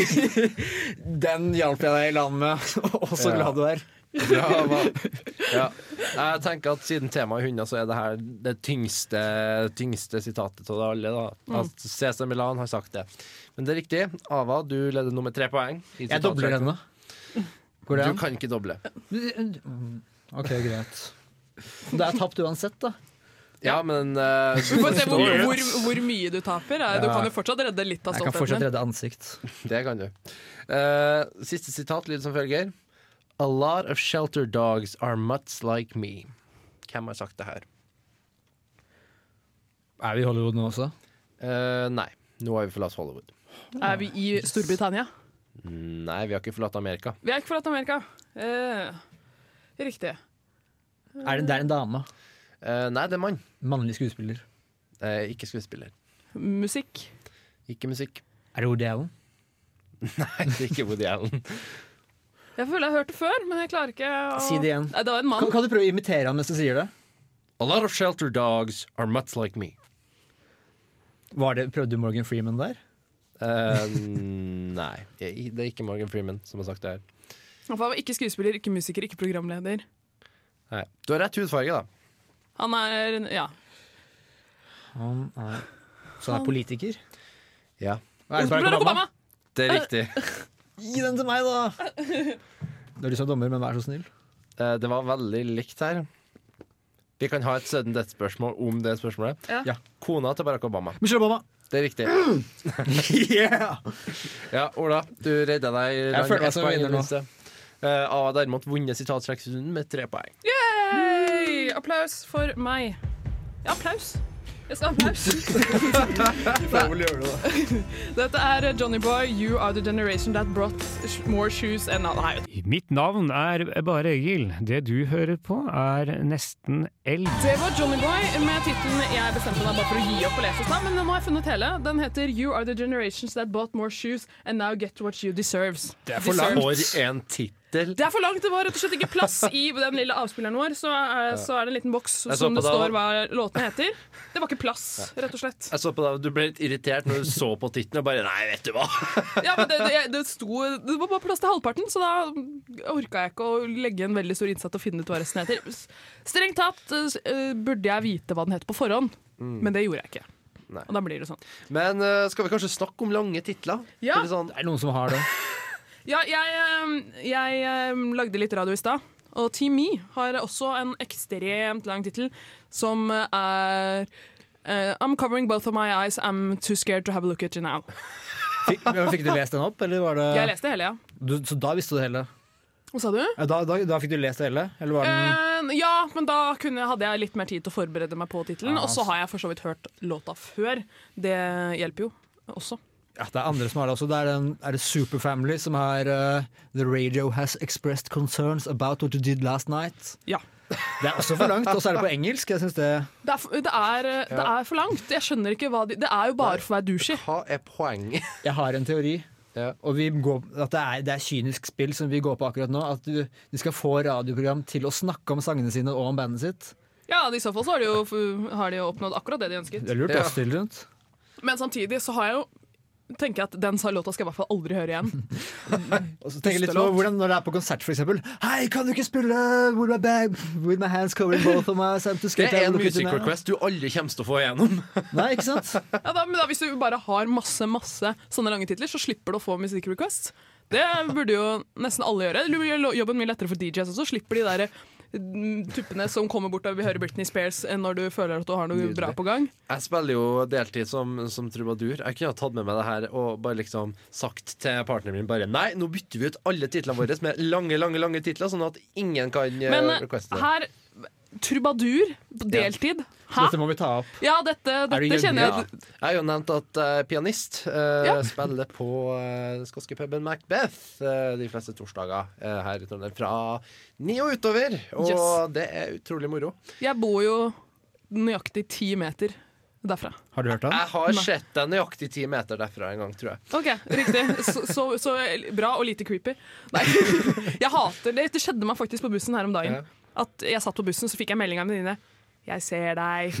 Den hjalp jeg deg i land med. Og så
Ja.
glad du er.
Bravo. Ja. Jeg tenker at siden temaet er hunder, så er det her det tyngste, tyngste sitatet av det alle. Da. At CC Milan har sagt det. Men det er riktig. Ava, du leder nummer tre poeng. i
Jeg dobler
sitatrekka.
henne. Går det
Du
an?
kan ikke doble.
Mm, OK, greit. Det er tapt uansett, da.
Ja, men eh,
Vi får se hvor, hvor, hvor mye du taper. Du kan jo fortsatt redde litt av
Jeg kan fortsatt
stoltheten din.
redde ansikt.
Det kan du. Eh, siste sitat lyder som følger. A lot of shelter dogs are much like me. Hvem har sagt det her?
Er vi i Hollywood nå også?
Eh, nei. Nå har vi forlatt Hollywood.
Er vi i Storbritannia?
Nei, vi har ikke forlatt Amerika.
Vi er ikke forlatt Amerika. Eh, riktig.
Er det, det er en dame.
Eh, nei, det er mann.
Mannlig skuespiller.
Eh, ikke skuespiller.
Musikk.
Ikke musikk.
Er det Woody Allen?
Nei, det er ikke Woody Allen.
Jeg føler jeg har hørt det før, men jeg klarer ikke å
Si det igjen.
Nei, det var en
Kan,
mann.
kan du prøve å imitere han mens du sier det?
A lot of shelter dogs are much like me.
Var det Prøvde du Morgan Freeman der?
Eh, nei, det er ikke Morgan Freeman som har sagt det her.
Han var ikke skuespiller, ikke musiker, ikke programleder.
Nei. Du har rett hudfarge, da.
Han er Ja.
Han er, så han er politiker?
Ja,
Er det
Barack Obama!
det er riktig.
Gi den til meg, da! Du er du som dommer, men vær så snill.
Eh, Det var veldig likt her. Vi kan ha et sudden death-spørsmål om det spørsmålet.
Ja.
Ja.
Kona til Barack Obama.
Michelle Obama!
Det er riktig. Ja, Ola, du redda deg. i land.
føler meg som
Ett poeng
vinner
i det
nå.
minste. Eh, Ava har derimot vunnet sitatstrekkrunden med tre poeng.
Yay! Applaus for meg. Ja, applaus. Jeg skal ha applaus. Dette er eh, Johnny Boy, You Are The Generation That Brought sh- More Shoes and Nei,
Mitt navn er Bare Egil. Det du hører på, er Nesten elg.
det var Johnny Boy med tittelen jeg bestemte meg bare for å gi opp å lese snart, men nå har jeg funnet hele. Den heter You Are The Generations That Bought More Shoes And Now Get What You Deserves. Det er for
For en tittel!
Det er for langt. Det var rett og slett ikke plass i den lille avspilleren vår, så, eh, så er det en liten boks
så
som
på
det
det, da.
står hva låtene heter. Det var ikke plass, rett og slett.
Jeg så på deg, Du ble litt irritert når du så på tittelen og bare Nei, vet du hva!
Ja, men det, det, det, sto, det var bare plass til halvparten, så da orka jeg ikke å legge en veldig stor innsats og finne ut hva resten heter. S- Strengt tatt eh, s- eh, burde jeg vite hva den het på forhånd, men det gjorde jeg ikke.
Mm. Nei.
Og da blir det sånn.
Men eh, skal vi kanskje snakke om lange titler?
Ja.
Eller sånn,
Det er noen som har det.
Ja, jeg, eh, jeg eh, lagde litt radio i stad, og Team Me har også en ekstremt lang tittel som eh, er eh, I'm covering both of my eyes, I'm too scared to have a look at you now.
Fikk, fikk du lest den opp, eller var det
Jeg leste hele, ja.
du, Så da visste du det hele?
Hva sa du?
Ja, Da, da, da fikk du lest det hele? Eller var den
Eh, ja, men da kunne, hadde jeg litt mer tid til å forberede meg på tittelen. Og så har jeg for så vidt hørt låta før. Det hjelper jo også.
ja, Det er andre som har det også. Det er, den, er det Superfamily som har eh, The radio has expressed concerns about what you did last night.
Ja.
Det er også for langt, og så er det på engelsk. Jeg synes det
Det er, f- det, er, eh, det er for langt. Jeg skjønner ikke hva de Det er jo bare for å være douche.
Hva er poenget?
Jeg har en teori.
Ja.
Og vi går, at det er, det er kynisk spill som vi går på akkurat nå. At du, de skal få radioprogram til å snakke om sangene sine og om bandet sitt.
Ja, i så fall så har de jo, f- har de jo oppnådd akkurat det de ønsket.
Det er lurt
Ja.
å stille rundt.
Men samtidig så har jeg jo tenker jeg at den sa- låta skal jeg i hvert fall aldri høre igjen.
Og så tenker jeg litt på hvordan Når det er på konsert, for eksempel Hei, kan du ikke spille With my, bag, with my hands covering both of my I'm too
Det
scared to
er en
look at you
music
now».
request du aldri kommer til å få igjennom.
Nei, ikke sant?
Ja, da, men da, hvis du bare har masse masse sånne lange titler, så slipper du å få music requests. Det burde jo nesten alle gjøre. Det gjør lo- jobben mye lettere for DJs også. Slipper de der mm, tuppene som kommer bort og vil høre Britney Spears eh, når du føler at du har noe bra på gang.
Jeg spiller jo deltid som, som trubadur. Jeg kunne ha tatt med meg det her og bare liksom sagt til partneren min bare Nei, nå bytter vi ut alle titlene våre med lange, lange lange titler, sånn at ingen kan eh,
Men eh,
requeste det.
her Trubadur på deltid. Hæ?
Dette må vi ta opp.
Ja, dette,
du
dette
jøde?
kjenner jeg.
Jeg har jo nevnt at jeg er pianist eh,
Ja.
spiller på uh, skotske puben Macbeth eh, de fleste torsdager eh, her i Trondheim fra ni og utover. Og
Yes.
det er utrolig moro.
Jeg bor jo nøyaktig ti meter derfra.
Har du hørt den?
Jeg har
Nei.
sett deg nøyaktig ti meter derfra en gang, tror jeg.
Ok, Riktig. Så, så, så bra og lite creepy. Nei, jeg hater det. Det skjedde meg faktisk på bussen her om dagen. At jeg satt på bussen, så fikk jeg melding av en venninne. 'Jeg ser deg'.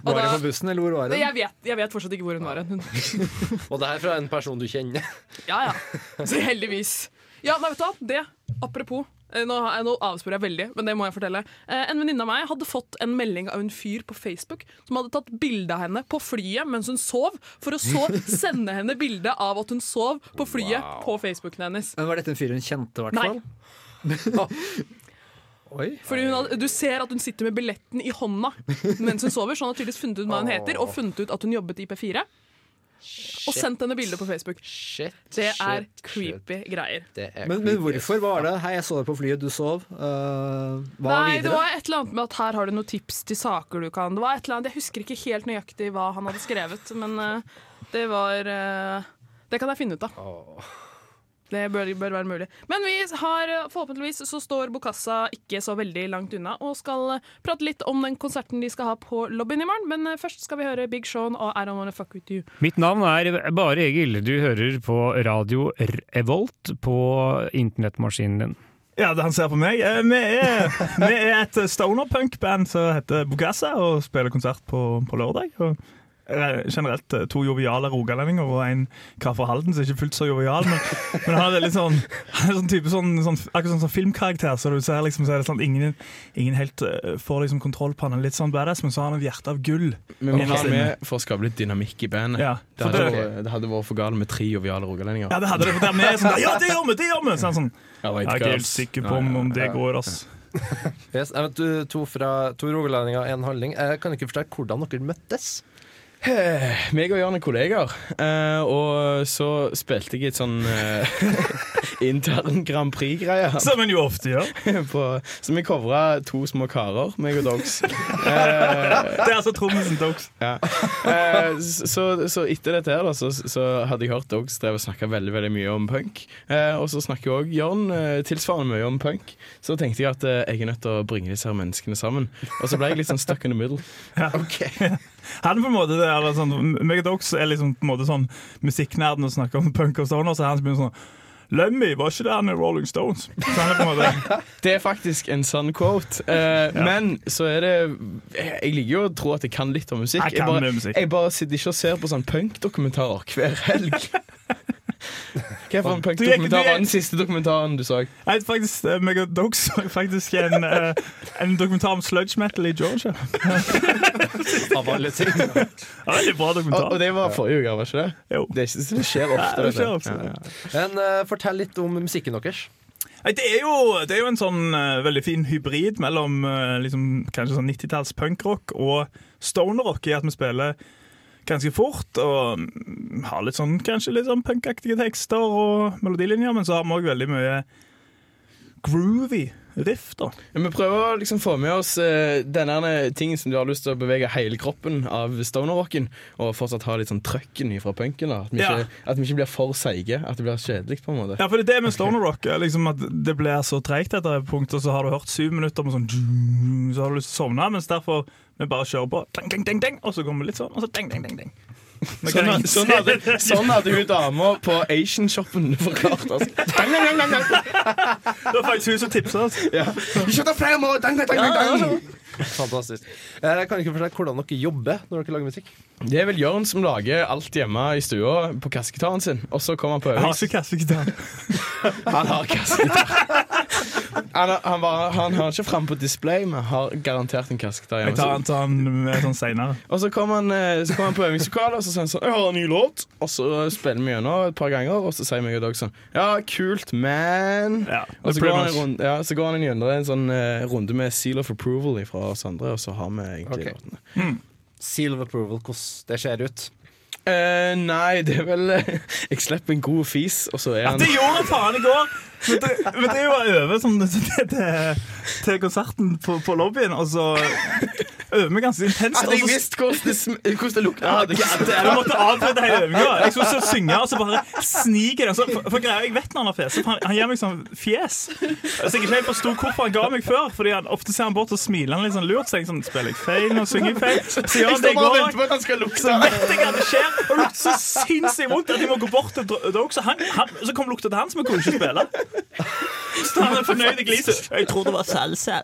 Og
Var det
da-
på bussen, eller hvor var
Nei,
den?
jeg, vet, jeg vet fortsatt ikke hvor hun var hen. Hun-
Og det her fra en person du kjenner.
Ja, ja. Så heldigvis. Ja, nei, vet du hva? Det, apropos. eh, Nå, har jeg- nå avsporer jeg veldig, men det må jeg fortelle. Eh, En venninne av meg hadde fått en melding av en fyr på Facebook som hadde tatt bilde av henne på flyet mens hun sov, for å så sende henne bilde av at hun sov på flyet på Facebooken hennes.
Men Var dette en fyr hun kjente, i hvert
Nei,
fall? Oi.
fordi hun hadde, Du ser at hun sitter med billetten i hånda mens hun sover, så han har tydeligvis funnet ut hva hun heter, og funnet ut at hun jobbet i P4, og sendt henne bilde på Facebook.
Shit,
Det er
shit, shit.
creepy greier.
Det er
Men, men
creepy.
hvorfor var det? Hei, jeg så deg på flyet, du sov. Uh, hva
Nei, det
videre?
var et eller annet med at her har du noen tips til saker du kan. Det var et eller annet, Jeg husker ikke helt nøyaktig hva han hadde skrevet, men eh, det var eh, Det kan jeg finne ut av. Det bør, bør være mulig. Men vi har, eh, forhåpentligvis så står Bokassa ikke så veldig langt unna og skal eh, prate litt om den konserten de skal ha på lobbyen i morgen. Men eh, først skal vi høre Big Sean og I Don't Wanna Fuck With You.
Mitt navn er Bare Egil. Du hører på radio Revolt på internettmaskinen din.
Ja, det- han ser på meg. Eh, Vi er, vi er et stonerpunk-band som heter Bogassa, og spiller konsert på, på lørdag. Og eh, generelt eh, to joviale rogalendinger og en kar fra Halden som ikke er fullt så jovial. Men, men han er veldig sånn, han er sånn type sånn, sånn, akkurat sånn, sånn filmkarakter. Så du ser liksom, så er det sånn at ingen, ingen helt eh, får liksom kontroll på han. Han er Litt sånn badass, men så har han et hjerte av gull.
Vi må ha det med for å skape litt dynamikk i bandet.
Ja,
Det,
for det,
hadde vært, det hadde vært for galt med tre joviale rogalendinger.
ja, det hadde det. For der vi er sånn Ja, det gjør vi! Det gjør vi! Så han sånn,
Ja,
jeg er ikke helt sikker på om, om det går, ass.
Yes, jeg vet, du, to fra to rogalendinger og én halvling. Jeg kan ikke forstå hvordan dere møttes.
Eh, Meg og Jørn er kollegaer, eh, og så spilte jeg i et sånn eh, intern Grand Prix-greie.
Som en jo ofte gjør.
På, så vi covra to små karer, meg og Dogs.
Det er altså trommisen til Ox.
Ja. Eh, så, så etter dette her da, så, så hadde jeg hørt Dogs drev og snakka veldig veldig mye om punk. Eh, og så snakker jo òg Jørn eh, tilsvarende mye om punk. Så tenkte jeg at eh, jeg er nødt til å bringe disse her menneskene sammen. Og så ble jeg litt sånn stuck in the middle.
Han på en måte, det er litt sånn, meg og Dox er liksom på en måte sånn musikknerden og snakker om punk og stoner, så han begynner sånn Lemmy, var ikke det han i Rolling Stones? Så han er på en måte
Det er faktisk en sann quote. Eh, Men så er det Jeg liker jo å tro at jeg kan litt om musikk.
Jeg kan
bare,
mye musikk.
jeg bare sitter ikke og ser på sånn punkdokumentarer hver helg. Hva for en
er ikke- du
punkdokumentar
er-
var den siste dokumentaren du så?
Jeg vet faktisk, eh, meg og Dox så faktisk en, eh, en dokumentar om sludge metal i Georgia.
Av alle ting.
Ja, Veldig bra
Og, og
dokumentar.
det var forrige uke, var ikke det?
Jo.
Det, er ikke, det skjer ofte.
Ja, det
vet du.
skjer ofte.
Ja, ja.
Men eh, fortell litt om musikken deres.
Nei, Det er, jo, det er jo en sånn eh, veldig fin hybrid mellom eh, liksom, kanskje sånn 90-talls punkrock og stonerrock, i at vi spiller ganske fort og mm, har litt sånn, kanskje litt sånn punkaktige tekster og melodilinjer, men så har vi òg veldig mye groovy riff, da.
Ja, Vi prøver å liksom få med oss eh, denne her tingen som du har lyst til å bevege hele kroppen av stoner-rocken, og fortsatt ha litt sånn trøkken fra punken. da At vi,
Ja.
ikke, at vi ikke blir for seige. At det blir kjedelig, på en måte.
Ja, for det er det med stoner rock. er Liksom at det blir så treigt etter et punkt, og så har du hørt syv minutter med sånn djung, Så har du lyst til å sovne, mens derfor vi bare kjører på. Ding, ding, ding, ding, og så kommer vi litt sånn, og så ding, ding, ding, ding. Men
Sånn,
kan-
hadde- sånn, hadde, sånn hadde hun dama på Asian-shoppen forklart oss. Dang, dang, dang, dang, dang.
Det var faktisk hun som tipsa oss.
Ja. Vi skjønner frem, og dang, dang, dang, dang, dang.
Fantastisk. Eh, Jeg kan ikke forstå hvordan dere jobber når dere lager musikk.
Det er vel Jørn som lager alt hjemme i stua på kassegitaren sin, og så kommer han på
Jeg har
øvelse.
ikke kassegitar.
Han har kassegitar. Han, har- han, bare- han har ikke fram på display, men har garantert en kassegitar
Jeg
hjemme.
tar han tar den med sånn seinere.
Og så kom han, eh, så kom han på øvingslokalet og så sa han sånn 'Jeg har en ny låt.' Og så spiller vi gjennom et par ganger, og så sier meg og Dag sånn 'Ja, kult, men'
Ja,
Og så
pretty
går, han en
much.
runde, ja, så går han gjennom en sånn eh, runde med seal of approval fra oss andre, og så har vi egentlig
Ok.
låtene.
Seal of approval, hvordan det ser ut.
Eh, nei, det er vel eh, Jeg slipper en god fis, og så er han
Det gjorde jeg faen i går! Men det, men det var over sånn, til, til, til konserten på, på lobbyen, og så øver vi ganske intenst.
Hadde jeg
og så-
visst hvordan det, sm- hvordan det lukta hadde jeg ikke-
Jeg måtte avbryte hele øvinga. Jeg skulle så synge, og så bare snike det. Så, for, for greia, Jeg vet når han har fjes, for han, han gir meg sånn fjes. Så jeg ikke helt forsto hvorfor han ga meg før. Fordi han, Ofte ser han bort og smiler han litt sånn lurt. Så jeg sånn, spiller jeg feil nå? Synger jeg feil? Så gjør
Jeg
han det
står
i
bare og
går.
venter på at han skal lukte.
Så vet jeg at det skjer. Og det lukter så sinnssykt vondt at jeg må gå bort til Dro- Dog. Så, han, han, så kom lukta til han, så vi kunne ikke spille. Så han er fornøyd i gliset. Jeg tror det var salsa.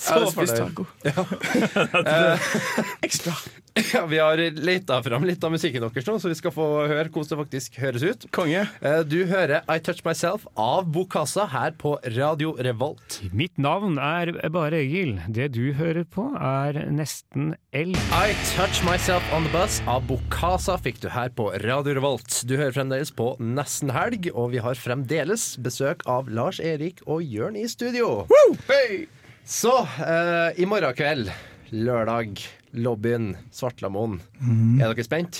Så spist taco.
Ja, vi har leita fram litt av musikken deres nå, så vi skal få høre hvordan det faktisk høres ut.
Konge.
Eh, Du hører I Touch Myself av Bokassa her på Radio Revolt.
Mitt navn er Bare Egil. Det du hører på, er nesten L.
I Touch Myself On The Bus av Bokasa fikk du her på Radio Revolt. Du hører fremdeles på Nesten Helg, og vi har fremdeles besøk av Lars Erik og Jørn i studio. Så eh, i morgen kveld, lørdag, lobbyen, Svartlamoen. Er dere spent?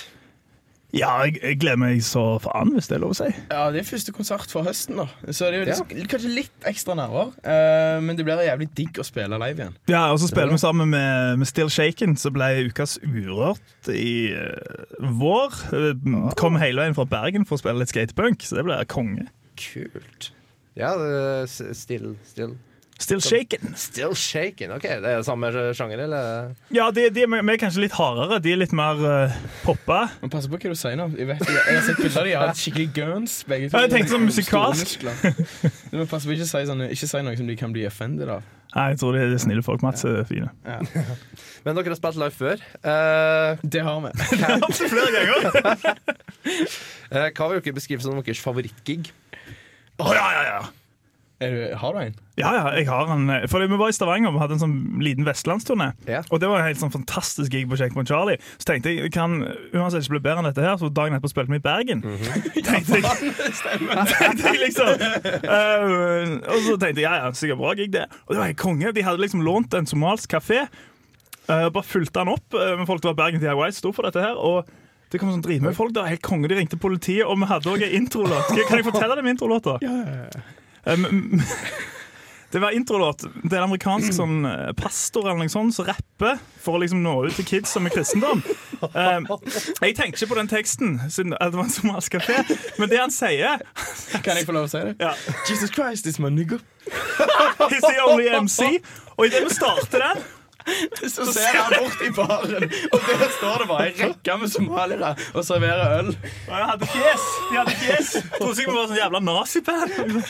Ja, jeg, jeg gleder meg så faen, hvis det er lov å si.
Ja, det er første konsert for høsten, da. Så det er jo
Ja.
litt- kanskje litt ekstra nerver. eh, men det blir jævlig digg å spille live igjen.
Ja, og så spiller vi sammen med, med Still Shaken, som ble ukas Urørt i eh, vår. Eh, Kom hele veien fra Bergen for å spille litt skatepunk, så det blir konge.
Kult. Ja, det- s- still, still
Still Shaken.
Still shaking. OK, det er samme sjanger, eller?
Ja, de, de, er- vi er kanskje litt hardere. De er litt mer eh, poppa.
Men pass på hva du sier nå. Jeg, vet, ikke, jeg har sett bilder av de har hatt skikkelig guns. Begge to.
Ja, jeg tenkte sånn
Store
musikalsk.
muskler. Du må passe på ikke å si, sånne, ikke si noe som de kan bli offended av.
Nei, jeg tror de er snille folk. Mats er fine.
Men dere har spilt live før. Eh,
Det har vi.
Flere ganger!
eh, hva vil dere beskrive som deres favorittgig?
Å, ja, ja, ja.
Er du, har du en?
Ja, ja, jeg har en eh, Fordi vi var i Stavanger og vi hadde en sånn liten vestlandsturné.
Ja.
Og det var en helt sånn fantastisk gig på Checkpoint Charlie. Så tenkte jeg, kan uansett ikke bli bedre enn dette her, så dagen etterpå spilte vi i Bergen. Tenkte jeg tenkte jeg liksom Eh, Og så tenkte jeg, ja, ja, sikkert bra gig det. Og det var helt konge. De hadde liksom lånt en somalisk kafé. eh, bare fulgte han opp eh, med folk fra Bergen DIY, sto for dette her. og det kom sånn dritmye folk. Det var helt konge. De ringte politiet, og vi hadde òg en introlåt. Kan- Kan jeg fortelle dem introlåta? Ja, Um, det var introlåt. Det er en amerikansk sånn, eh, pastor eller noe sånt som rapper for å liksom nå ut til kids som er kristendom. Um, jeg tenkte ikke på den teksten, siden at det var en somalisk kafé, men det han sier
Kan jeg få lov å si det?
ja,
Jesus Christ is my nigger.
He's the only MC. Og idet vi starter den
Så ser han bort i baren, og der står det bare en rekke med somaliere og serverer øl.
Og jeg hadde fjes! De hadde fjes. Trodde sikkert vi var sånn jævla naziband.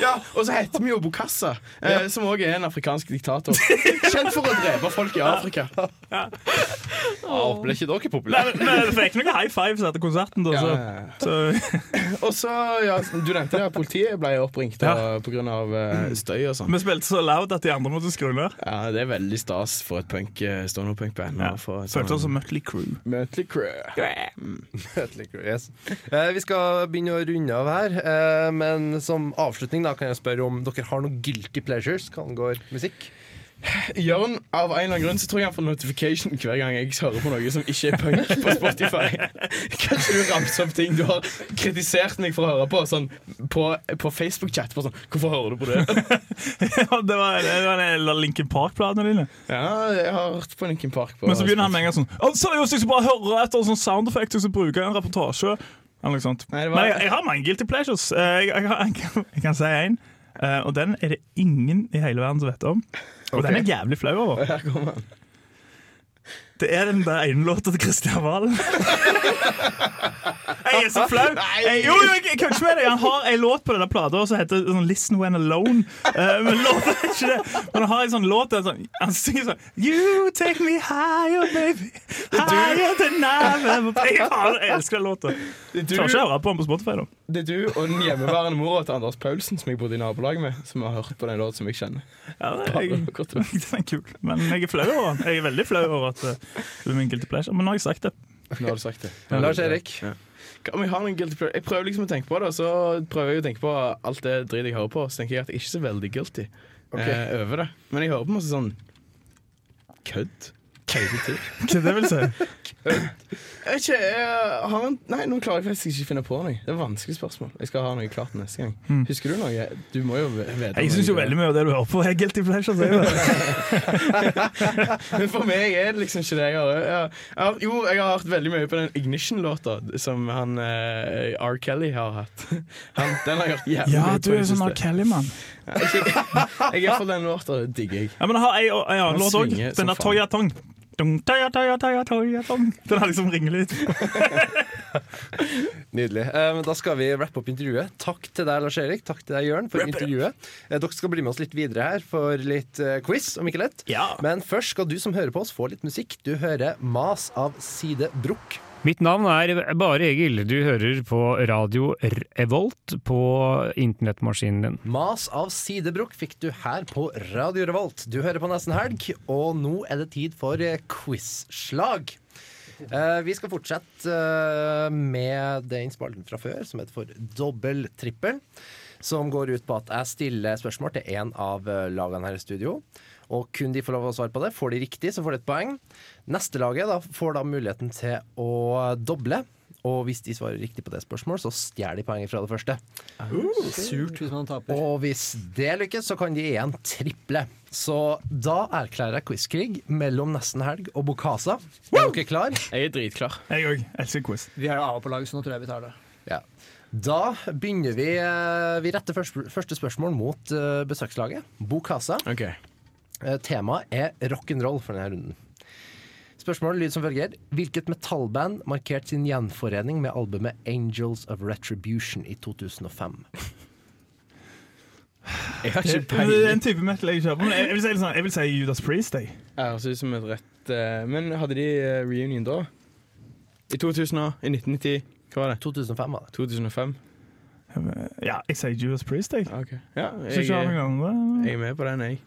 Ja, Og så heter vi jo Bokassa, eh, som òg er en afrikansk diktator. Kjent for å drepe folk i Afrika.
Oh. Ble ikke dere
Nei,
populære?
men- men Vi fikk noen high fives etter konserten, da. Så. eh, Så,
Og så, ja, Du nevnte det, politiet ble oppringt
Ja. Mm.
ja. pga. støy og sånn.
vi spilte så loud at de andre måtte skru ned.
Ja, Det er veldig stas for et punk, eh, standup-punkband.
Ja.
å få et
Følte oss
sånn-
som Mutley Crew.
Mötley Crüe.
Yes. Eh, vi skal begynne å runde av her, eh, men som avslutning da kan jeg spørre om dere har noen guilty pleasures hva angår musikk?
Jørn, av en eller annen grunn så tror jeg han får notification hver gang jeg hører på noe som ikke er punk på Spotify. Kanskje du ramser opp ting du har kritisert meg for å høre på, sånn på, på Facebook-chat. bare Sånn, 'Hvorfor hører du på det?'
Ja, det var, det var en av Linkin Park-platene dine.
Ja, jeg har hørt på Linkin Park. På
Men så begynner han med en gang sånn «Å, Seriøst, jeg skal bare høre etter sånn sound effect og så bruker jeg en reportasje. Eller noe sånt.
det var-
Men jeg, jeg har mange guilty pleasures. Eh, Jeg, jeg, har- jeg, kan- jeg kan si én, og den er det ingen i hele verden som vet om. Og den er
Ok.
jeg jævlig flau over.
Her kommer han.
Det er den der ene låta til Kristian Valen. Jeg er så flau! Jeg, jo, jo, jeg jeg kødder ikke med deg. Han har en låt på denne plata som heter sånn, 'Listen When Alone'. Eh, men låten er ikke det. Men han har en sånn låt der sånn, han synger sånn You take me higher, baby. Higher than I've ever been». Jeg, faen, jeg elsker den låta.
Det
Klarer ikke å
er,
høre på den på Spotify, da.
du, det er du og den hjemmeværende mora til Anders Paulsen som jeg bodde i nabolag med, som har hørt på den låten som jeg kjenner.
Ja, det-
Bare
jeg,
kort og-
den er kul. Men jeg er flau over den. Jeg er veldig flau over at eh, det er min guilty pleasure. Men nå har jeg sagt det.
Nå har du sagt det.
Men Lars Erik?
Ja. Hva om jeg har noen guilty pleasure? Jeg prøver liksom å tenke på det, og så prøver jeg å tenke på alt det dritt jeg hører på. Så tenker jeg at jeg er ikke så veldig guilty eh, over det. Men jeg hører på masse sånn kødd. Køddete.
Hva det vil si?
Jeg vet ikke, jeg har en, nei, nå klarer jeg faktisk ikke å finne på noe. Det er et vanskelig spørsmål. Jeg skal ha noe klart neste gang. Husker du noe? Du må jo ve- vite.
Hmm. Jeg syns jo veldig mye av det du hører på, er guilty pleasure. Så jeg, jo-
Men for meg er det liksom ikke det jeg har. Jeg har, jeg har jo, jeg har hørt veldig mye på den Ignition-låta som han eh, R. Kelly har hatt. Han, den har jeg hørt jævlig
ja,
mye
du
på i
er
det
sånn
siste.
R. Kelly-mann.
Jeg er for den låta, det digger jeg.
Ja, men jeg har ei ei annen
Han
låt òg.
svinger som
Den der
faen.
Toya Tong. Dun, toya, toya, toya, toya, tong. Den har liksom ringelyd.
Nydelig. Eh, men da skal vi rappe opp intervjuet. Takk til deg, Lars Erik. Takk til deg, Jørn, for intervjuet. Eh, dere skal bli med oss litt videre her for litt eh, quiz, om ikke lett.
Ja.
Men først skal du som hører på oss, få litt musikk. Du hører Mas av Side Brukk.
Mitt navn er Bare Egil. Du hører på radio Revolt på internettmaskinen din.
Mas av Sidebrukk fikk du her på Radio Revolt. Du hører på Nesten Helg, og nå er det tid for eh, quiz-slag. Eh, vi skal fortsette eh, med den spalten fra før som heter for dobbel-trippel. Som går ut på at jeg stiller spørsmål til én av eh, lagene her i studio. Og kun de får lov å svare på det. Får de riktig, så får de et poeng. Neste laget da, får da muligheten til å doble. Og hvis de svarer riktig på det spørsmålet, så stjeler de poenget fra det første.
Surt hvis man taper.
Og hvis det lykkes, så kan de igjen triple. Så da erklærer jeg quizkrig mellom Nesten Helg og Bokasa. Er dere klar?
Jeg er dritklar.
Jeg òg. Elsker quiz.
Vi er av på lag, så nå tror jeg vi tar det.
Ja. Da begynner vi eh, Vi retter først- første spørsmål mot eh, besøkslaget. Bokasa.
Ok
Eh, Temaet er rock'n'roll for denne runden. Spørsmålet lyder som følger. Hvilket metallband markerte sin gjenforening med albumet Angels of Retribution i 2005?
Jeg har
Det
ikke
det er
peiling.
en type metal jeg kjøper. Men jeg, jeg, vil si, litt sånn, jeg vil si Judas Priest. Jeg.
Jeg høres ut som et rett eh, Men hadde de eh, reunion da? I 2000 og I 1990? Hva var det?
2005 var det.
2005?
Ja, jeg sier Judas Priest. Jeg.
Ja, Ok. Ja,
Skal
jeg,
ikke ha
jeg
noen andre.
er med på den, jeg.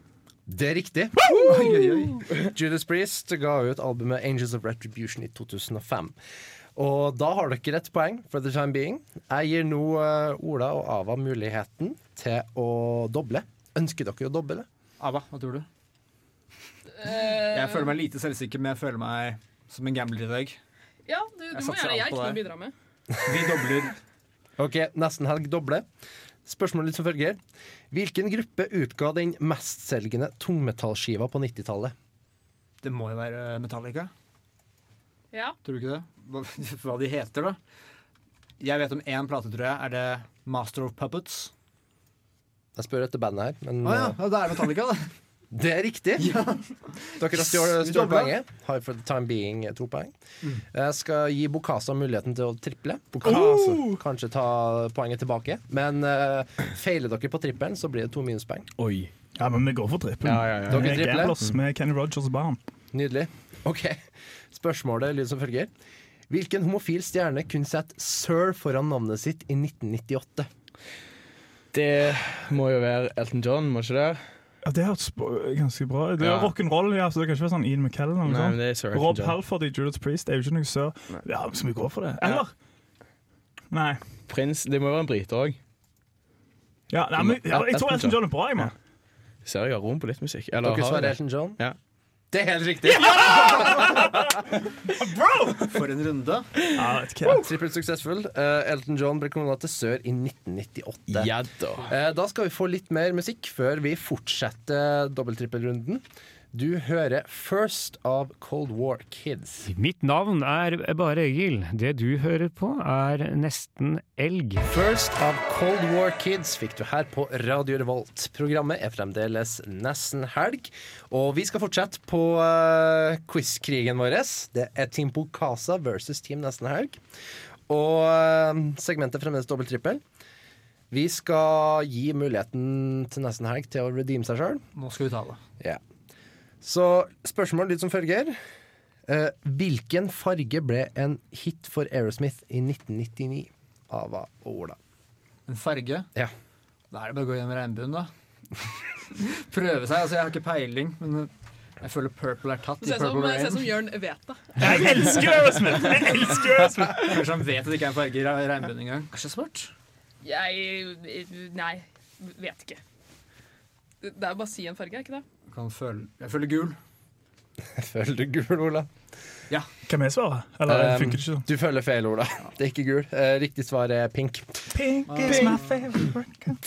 Det er riktig. Oi, oi, oi. Judas Priest ga ut albumet Angels of Retribution i 2005. Og da har dere et poeng for the time being. Jeg gir nå eh, Ola og Ava muligheten til å doble. Ønsker dere å doble?
Ava, hva tror du? Jeg føler meg lite selvsikker, men jeg føler meg som en gambler i dag.
Ja, du, du må
satser
gjøre det. Jeg
alt på
har ikke noe å
deg.
bidra med.
Vi dobler.
Ok, nesten helg doble. Spørsmålet som følger. Hvilken gruppe utga den mestselgende tungmetallskiva på 90-tallet?
Det må jo være Metallica.
Ja.
Tror du ikke det? Hva, hva de heter, da? Jeg vet om én plate, tror jeg. Er det Master of Puppets?
Jeg spør etter bandet her, men
Å ja,
eh,
ja, det er Metallica, da.
det er riktig. Dere
Yes, vi
har stjålet
Mm.
stjålet
dobla.
poenget. Har for the time being eh, to poeng. Jeg skal gi Bokasa muligheten til å triple. Kanskje ta poenget tilbake. Men eh, feiler dere på trippelen, så blir det to minuspoeng.
Oi.
Ja, men vi går for trippel.
Ja, ja, ja.
Dere
Jeg er
tripler?
gamblers med Kenny Rogers og barn.
Nydelig. Ok, Spørsmålet lyder som følger. Hvilken homofil stjerne kunne sette Sir foran navnet sitt i 1998?
Det må jo være Elton John, må ikke det?
Ja, det hørtes b- ganske bra ut. Det er
Ja.
rock'n'roll, ja, så det kan ikke være sånn Ian McKellen eller
Nei,
noe
men
sånt.
det er Sir
Rob
Elton John.
Halford i Judas Priest er jo ikke noe sør. Ja, men skal vi gå for det? Eller? Nei.
Prins Det må jo være en brite òg.
Ja, nei, men, ja, jeg tror Elton John er bra, jeg, mann.
Ser jeg har roen på litt musikk.
Dere
har
svarer
det.
Elton John?
Ja.
Det er helt riktig!
For en runde.
Trippelt suksessfull. Eh, Elton John ble kona til Sør i 1998.
Ja da.
Eh, Da skal vi få litt mer musikk før vi fortsetter dobbelttrippelrunden. Du hører First av Cold War Kids.
Mitt navn er Bare Egil. Det du hører på, er nesten elg.
First av Cold War Kids fikk du her på Radio Revolt. Programmet er fremdeles nesten helg, og vi skal fortsette på eh, quizkrigen vår. Det er Team Pokasa versus Team Nesten Helg. Og eh, segmentet er fremdeles dobbelttrippel. Vi skal gi muligheten til Nesten Helg til å redeeme seg sjøl.
Nå skal vi ta det.
Ja. Så spørsmål litt som følger. Eh, hvilken farge ble en hit for Aerosmith i 1999? Ava og Ola.
En farge.
Ja.
Da er det bare å gå gjennom regnbuen, da. Prøve seg. Altså, jeg har ikke peiling, men eh, jeg føler purple er tatt.
Det
i
ser ut som,
Purple
det ser ut
Rain.
som Jørn vet det.
Jeg elsker Aerosmith! Jeg elsker Aerosmith!
Kanskje han vet at det ikke er en farge i re- regnbuen engang. Kanskje svart?
Jeg eh, Nei, vet ikke. Det det er jo bare å si en farge, er ikke det?
Kan føle, jeg føler gul.
Føler du gul, Ola?
Kan vi svare? Eller
Um,
funker det ikke sånn?
Du føler feil, Ola. Det er ikke gul. Eh, riktig svar er pink.
Pink is my favorite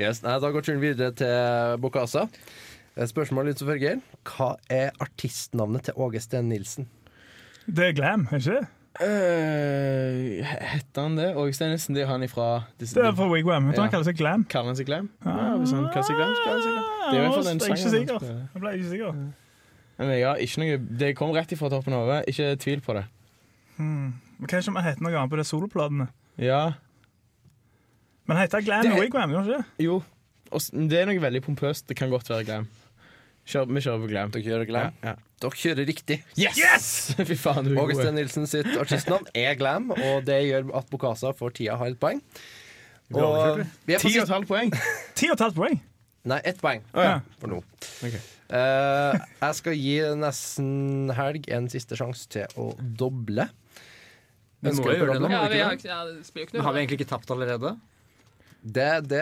Yes, nei, Da går turen videre til Bokasa. Eh, Spørsmål litt som følger. Hva er artistnavnet til Åge Steen Nilsen?
Det er glam, er ikke det?
Eh, Heter han det? Åge Steinesen, det er han ifra
Det er fra Wigwam. Jeg tror han
Ja.
kaller seg glam.
Kaller han seg Glam? Ja, hvis han kaller seg Glam, så kaller han seg Glam.
Ah,
Det er i hvert fall den
jeg er ikke
sangen
sikker.
han spiller.
Jeg ble ikke sikker.
Men ja, ikke noe, det kom rett ifra toppen av hodet. Ikke tvil på det.
Hmm. Men Kanskje man heter noe annet på de soloplatene.
Ja,
Men heter Glam
Det-
i Wigwam, gjør det ikke? det?
jo. Og s- det er noe veldig pompøst. Det kan godt være Glam. Kjør, vi kjører på Glam.
Dere kjører glam?
Ja, ja.
Dere kjører riktig.
Yes! Fy faen, du er
Åge Steen
god.
Nilsen sitt artistnavn er glam, og det gjør at Bokasa for tida har et poeng.
blir overkjørt,
Og vi er
Ti
på
og et halvt poeng.
Ti og et halvt poeng.
Nei, ett poeng
Å ja.
for nå.
Ok.
Eh, jeg skal gi nesten helg en siste sjanse til å doble.
Vi må jo
Ønsker dere
gjøre
å
det
doble?
nå.
Ja,
må vi
vi
ikke
har,
det?
ikke- ja, det spiller jo ikke
Men
noe
har vi egentlig ikke tapt allerede?
Det, det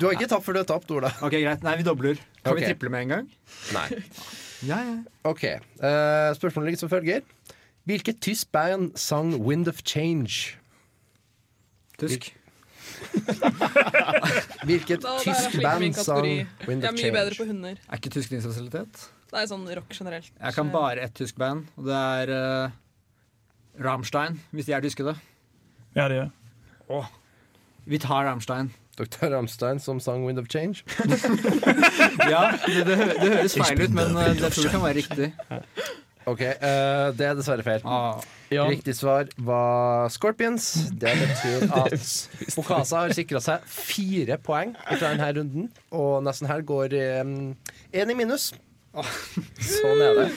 Du har ikke tapt for du har tapt, Ola.
Ok, greit. Nei, vi dobler. Kan
Ok.
vi triple med en gang?
Nei.
Ja, ja.
OK. eh, spørsmålet ligger som følger. Hvilket tysk band sang 'Wind of Change'?
Tysk.
Hvilket
Da, der er
tysk
flink min
band sang
kategori.
'Wind
Jeg
of
er mye bedre på
Change'?
hunder.
Er ikke tysk din spesialitet?
Det er sånn rock generelt.
Jeg kan bare ett tysk band, og det er eh, Rammstein, hvis de er tyske, da.
Ja, det gjør
Vi tar Rammstein.
Dr. Ramstein som sang 'Wind of Change'?
Ja, det, det, hø- det høres feil ut, men eh, det tror jeg kan være riktig.
OK. eh, det er dessverre feil.
Ah,
Ja,
Riktig svar var Scorpions. Det betyr at Bokasa har sikra seg fire poeng fra denne runden, og nesten her går én i minus. Sånn er det.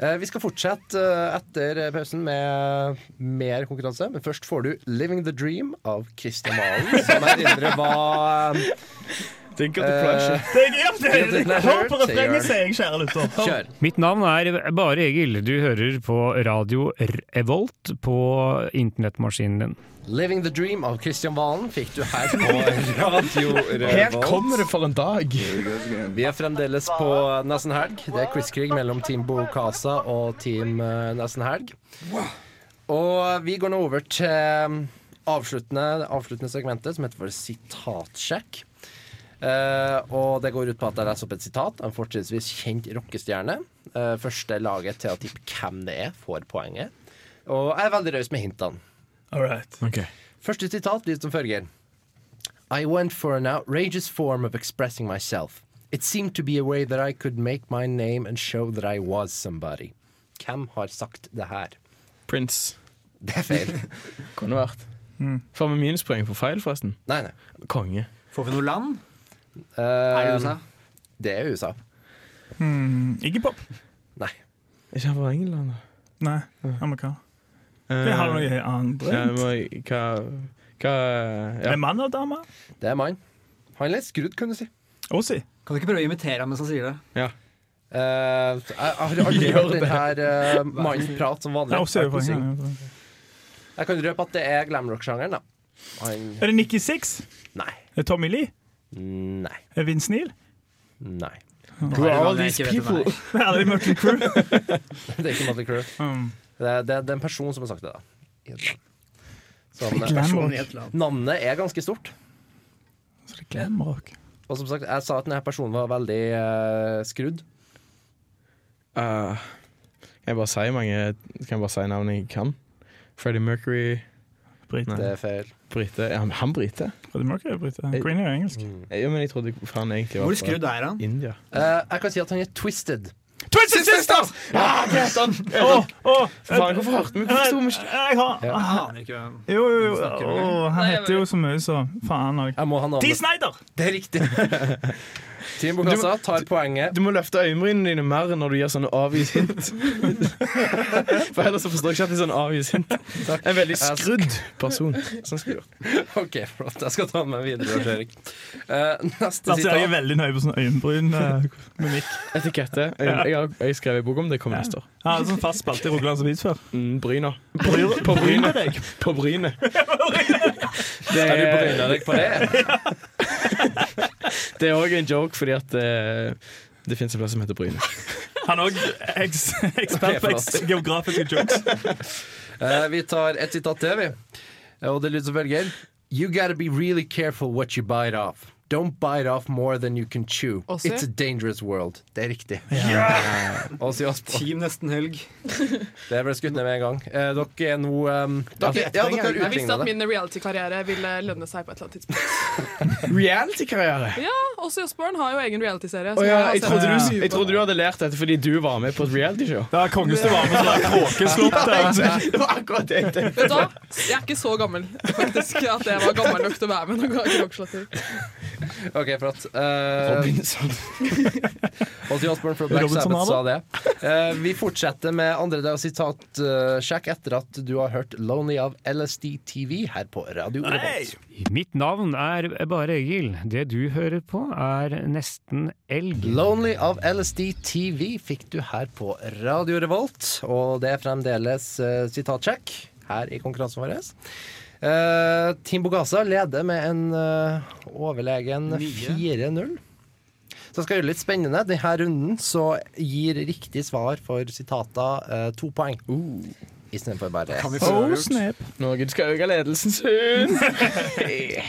Eh, Vi skal fortsette eh, etter pausen med mer konkurranse, men først får du 'Living the Dream' av Kristian Valen, som jeg erindrer var eh,
det er guilty pleasure.
det. er- ja, det
Guilty
er-
pleasure,
Hør på refrenget,
sier
sier jeg, kjære lytter. Hør.
Kjør.
Mitt navn er Bare Egil. Du hører på Radio Revolt på internettmaskinen din.
'Living the Dream' av Kristian Valen fikk du her på Radio
Her
Revolt.
kommer det for en dag.
Vi er fremdeles på Nesten Helg. Det er quizkrig mellom Team Bokasa og Team eh, Nesten Helg. Og vi går nå over til eh, avsluttende, det avsluttende segmentet, som heter for sitatsjekk. Eh, og det går ut på at jeg leser opp et sitat av en fortrinnsvis kjent rockestjerne. Eh, første laget til å tippe hvem det er, får poenget. Og jeg er veldig raus med hintene.
All right.
Første sitat lyder som følger. I went for an outrageous form of expressing myself. It seemed to be a way that I could make my name and show that I was somebody. Hvem har sagt det her?
Prince.
Det er feil.
Kunne vært.
Mm.
Får vi minuspoeng for feil, forresten?
Nei, nei.
Konge.
får vi noe land?
Eh,
Er det USA?
det er USA.
Hmm. Iggy Pop?
Nei.
Er ikke han fra England, da?
Nei, amerikaner. Det har du noe
Ja,
andre.
men hva Hva ja.
Er mann og dame?
Det er mann. Han er litt skrudd, kan du si.
Åsi?
Kan du ikke prøve å imitere ham mens han sier det?
Eh, jeg har aldri hørt denne mannen prate som vanlig.
Ja, Åsi er jo fra
Jeg kan
England.
si- Jeg kan røpe at det er glamrock-sjangeren, da. Han
Er det Nikki Six?
Nei.
Er det Tommy Lee?
Nei.
Er Vince Neil?
Nei.
Who
Nei,
are all
det er
these
ikke vet om
people?
det
Er det Motley Crue?
det er ikke Motley Crue.
Mm.
Det, er, det, er, det er en person som har sagt det, da. I et land. Som-
Glam Person i rock. et land.
navnet er ganske stort.
Glamrock.
Og som sagt, jeg sa at denne personen var veldig eh, skrudd.
Eh, jeg bare sier mange Kan jeg bare si navn jeg kan? Freddie Mercury
Brite.
Det er feil.
Brite. Er han, han brite?
Freddie Mercury er brite. Queen er jo engelsk.
Ja, men jeg trodde han egentlig var
Hvor
fra
skrudd er han?
India.
Eh, jeg kan si at han er twisted.
Twisted Sisters!
Ja, det er sånn!
Åh, åh.
Faen, hvorfor hørte vi hvorfor sto vi ikke?
Jeg har
Ja.
ah,
Aner ikke hvem.
Jo, jo, jo.
snakker om,
Åh, han
Nei, jeg
heter jo så mye, så faen òg.
Jeg må ha navnet.
Dee Snyder!
Det er riktig. Team Bokassa tar poenget.
Du må løfte øyenbrynene dine mer når du gir sånne avgitt hint. For ellers så forstår jeg ikke at det er sånn avgitt hint. En veldig skrudd person. Sånn skal du gjøre.
OK, flott. Jeg skal ta den med videre. Lars Erik. Eh, neste
Altså, jeg er
sitat.
veldig nøye på sånne øyenbryn. eh, mimikk.
Etikette. Jeg, jeg, har- jeg skrev en bok om det. Kommer neste år.
Jeg hadde sånn fast spalte i Rogaland Avis før.
Mm, Bryna.
Bryr-
På
bryr
brynet.
deg.
På brynet. Det
Er du
er,
bryna deg på det?
det er også en joke, fordi at eh, det fins en plass som heter Bryne.
Han er òg eks ekspert
Ok,
på
forlåt.
eks geografiske jokes.
Eh, vi tar et sitat til, vi. Eh, Og det lyder som følger. You gotta be really careful what you bite off. Don't bite off more than you can chew.
Ozzy?
It's a dangerous world. Det er riktig. Ozzy Osbourne.
Team nesten helg.
Det ble skutt ned med en gang. Eh, dere er nå um, dere, Ja, dere har
Jeg visste
utligna
at
det.
min reality-karriere ville lønne seg på et eller annet tidspunkt.
Reality-karriere!
Ja, også Josborn har jo egen reality-serie.
Å
som
ja,
har
jeg,
sett.
trodde du, jeg trodde du hadde lært dette fordi du var med på et realityshow.
Det var kongens du var med som en kråkeslopp der.
Det var akkurat det jeg tenkte.
Vet du hva? Jeg er ikke så gammel faktisk at jeg var gammel nok til å være med noen gang. i Rockslottet.
OK, flott. Eh,
Robinson.
Ozzy Osbourne fra Black
Robinson
Sabbath sa
Ava.
det. Eh, vi fortsetter med andre dag sitat. eh, sjekk etter at du har hørt 'Lonely' av LSD TV her på Radio Revolt.
Mitt navn er Bare Egil. Det du hører på, er nesten elg.
'Lonely' av LSD TV fikk du her på Radio Revolt, og det er fremdeles eh, sitatsjekk her i konkurransen vår. Eh, Team Bogasa leder med en eh, overlegen 4-0. Så skal jeg gjøre det litt spennende. Denne runden så gir riktig svar for sitater eh, to poeng. Istedenfor bare ett.
Oh, snap.
Norge skal øke ledelsen sin!
Eh.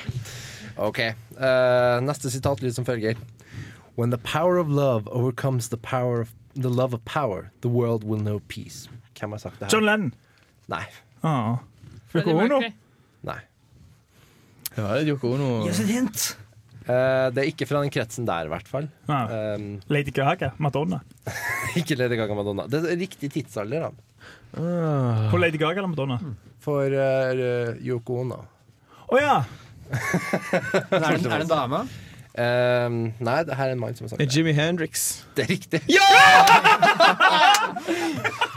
OK. Eh, neste sitat lyder som følger. When the power of love overcomes the power of the love of power, the world will know peace. Hvem har sagt det her?
John Lennon.
Nei.
Ah. Fikk
Freddie
hun nå?
Mercury.
Nei.
Ja, det er Yoko Ono.
Eh, det er ikke fra den kretsen der, i hvert fall.
Ah.
Um,
Lady Gaga. Madonna.
ikke Lady Gaga Madonna. Det er riktig tidsalder, da.
Ah.
På Lady Gaga eller Madonna?
For eh, Yoko Ono.
Å ja!
Er det, er det en dame?
Eh, nei, det her er en mann som har sagt
Det er
det.
Jimi Hendrix.
Det er riktig.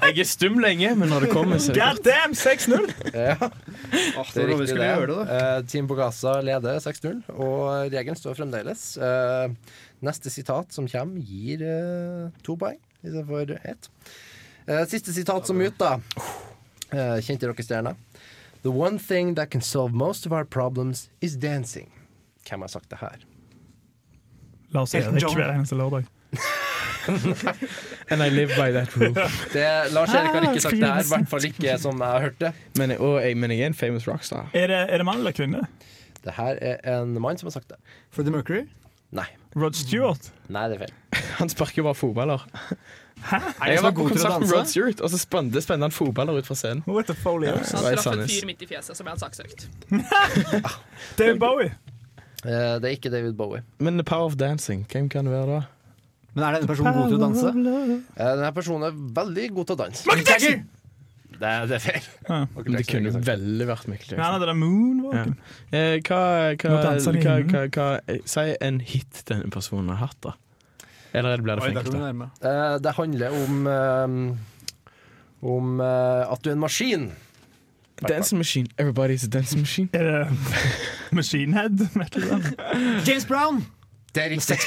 Jeg er stum lenge, men når det kommer, så er det
God damn, 6-0!
Ja, det er
da vi skulle
riktig det.
gjøre det,
Eh, Team Bogasa leder 6-0, og regelen står fremdeles. Eh, neste sitat som kommer, gir eh, to poeng istedenfor ett. Eh, siste sitat som ut, da. Eh, kjente dere stjerna? The one thing that can solve most of our problems is dancing. Hvem har sagt det her?
Lars Erik hver eneste lørdag.
And I live by that rule.
Det, Lars Erik har ikke sagt det her, i hvert fall ikke som jeg har hørt det.
Men, jeg- og jeg, men jeg er en famous rockstar.
Er det, er det mann eller kvinne?
Det her er en mann som har sagt det.
Freddie Mercury?
Nei.
Rod Stewart?
Nei, det er feil.
Han sparker jo bare fotballer.
Er det
Jeg
som
var
er
på
god til å
konsert med Rod
danse?
Stewart, og så spente, spente han fotballer ut fra scenen.
What the foley is?
Det var i
Han traff en
Sandnes.
fyr midt i fjeset som jeg hadde saksøkt.
David Bowie.
Eh, det er ikke David Bowie.
Men The Power of Dancing, hvem kan det være da?
Men er denne personen god til å danse?
Eh, denne personen er veldig god til å danse. Det, er- det er feil.
Ja.
Michael
Men det
Jackson,
kunne
ikke sant?
veldig vært Michael
Men han
Jackson.
hadde den moonwalken.
Eh, hva, hva,
Nå danser
hva,
de
hva,
inne.
hva, eh, Si en hit denne personen har hatt, da. Eller blir det for
Oi, der kom
enkelt?
du
da?
nærme.
Eh, det handler om eh, om eh, at du er en maskin.
Dancing Machine. Everybody's a dancing machine.
Er det Machine Head? Vet du den?
James Brown!
Det er riktig.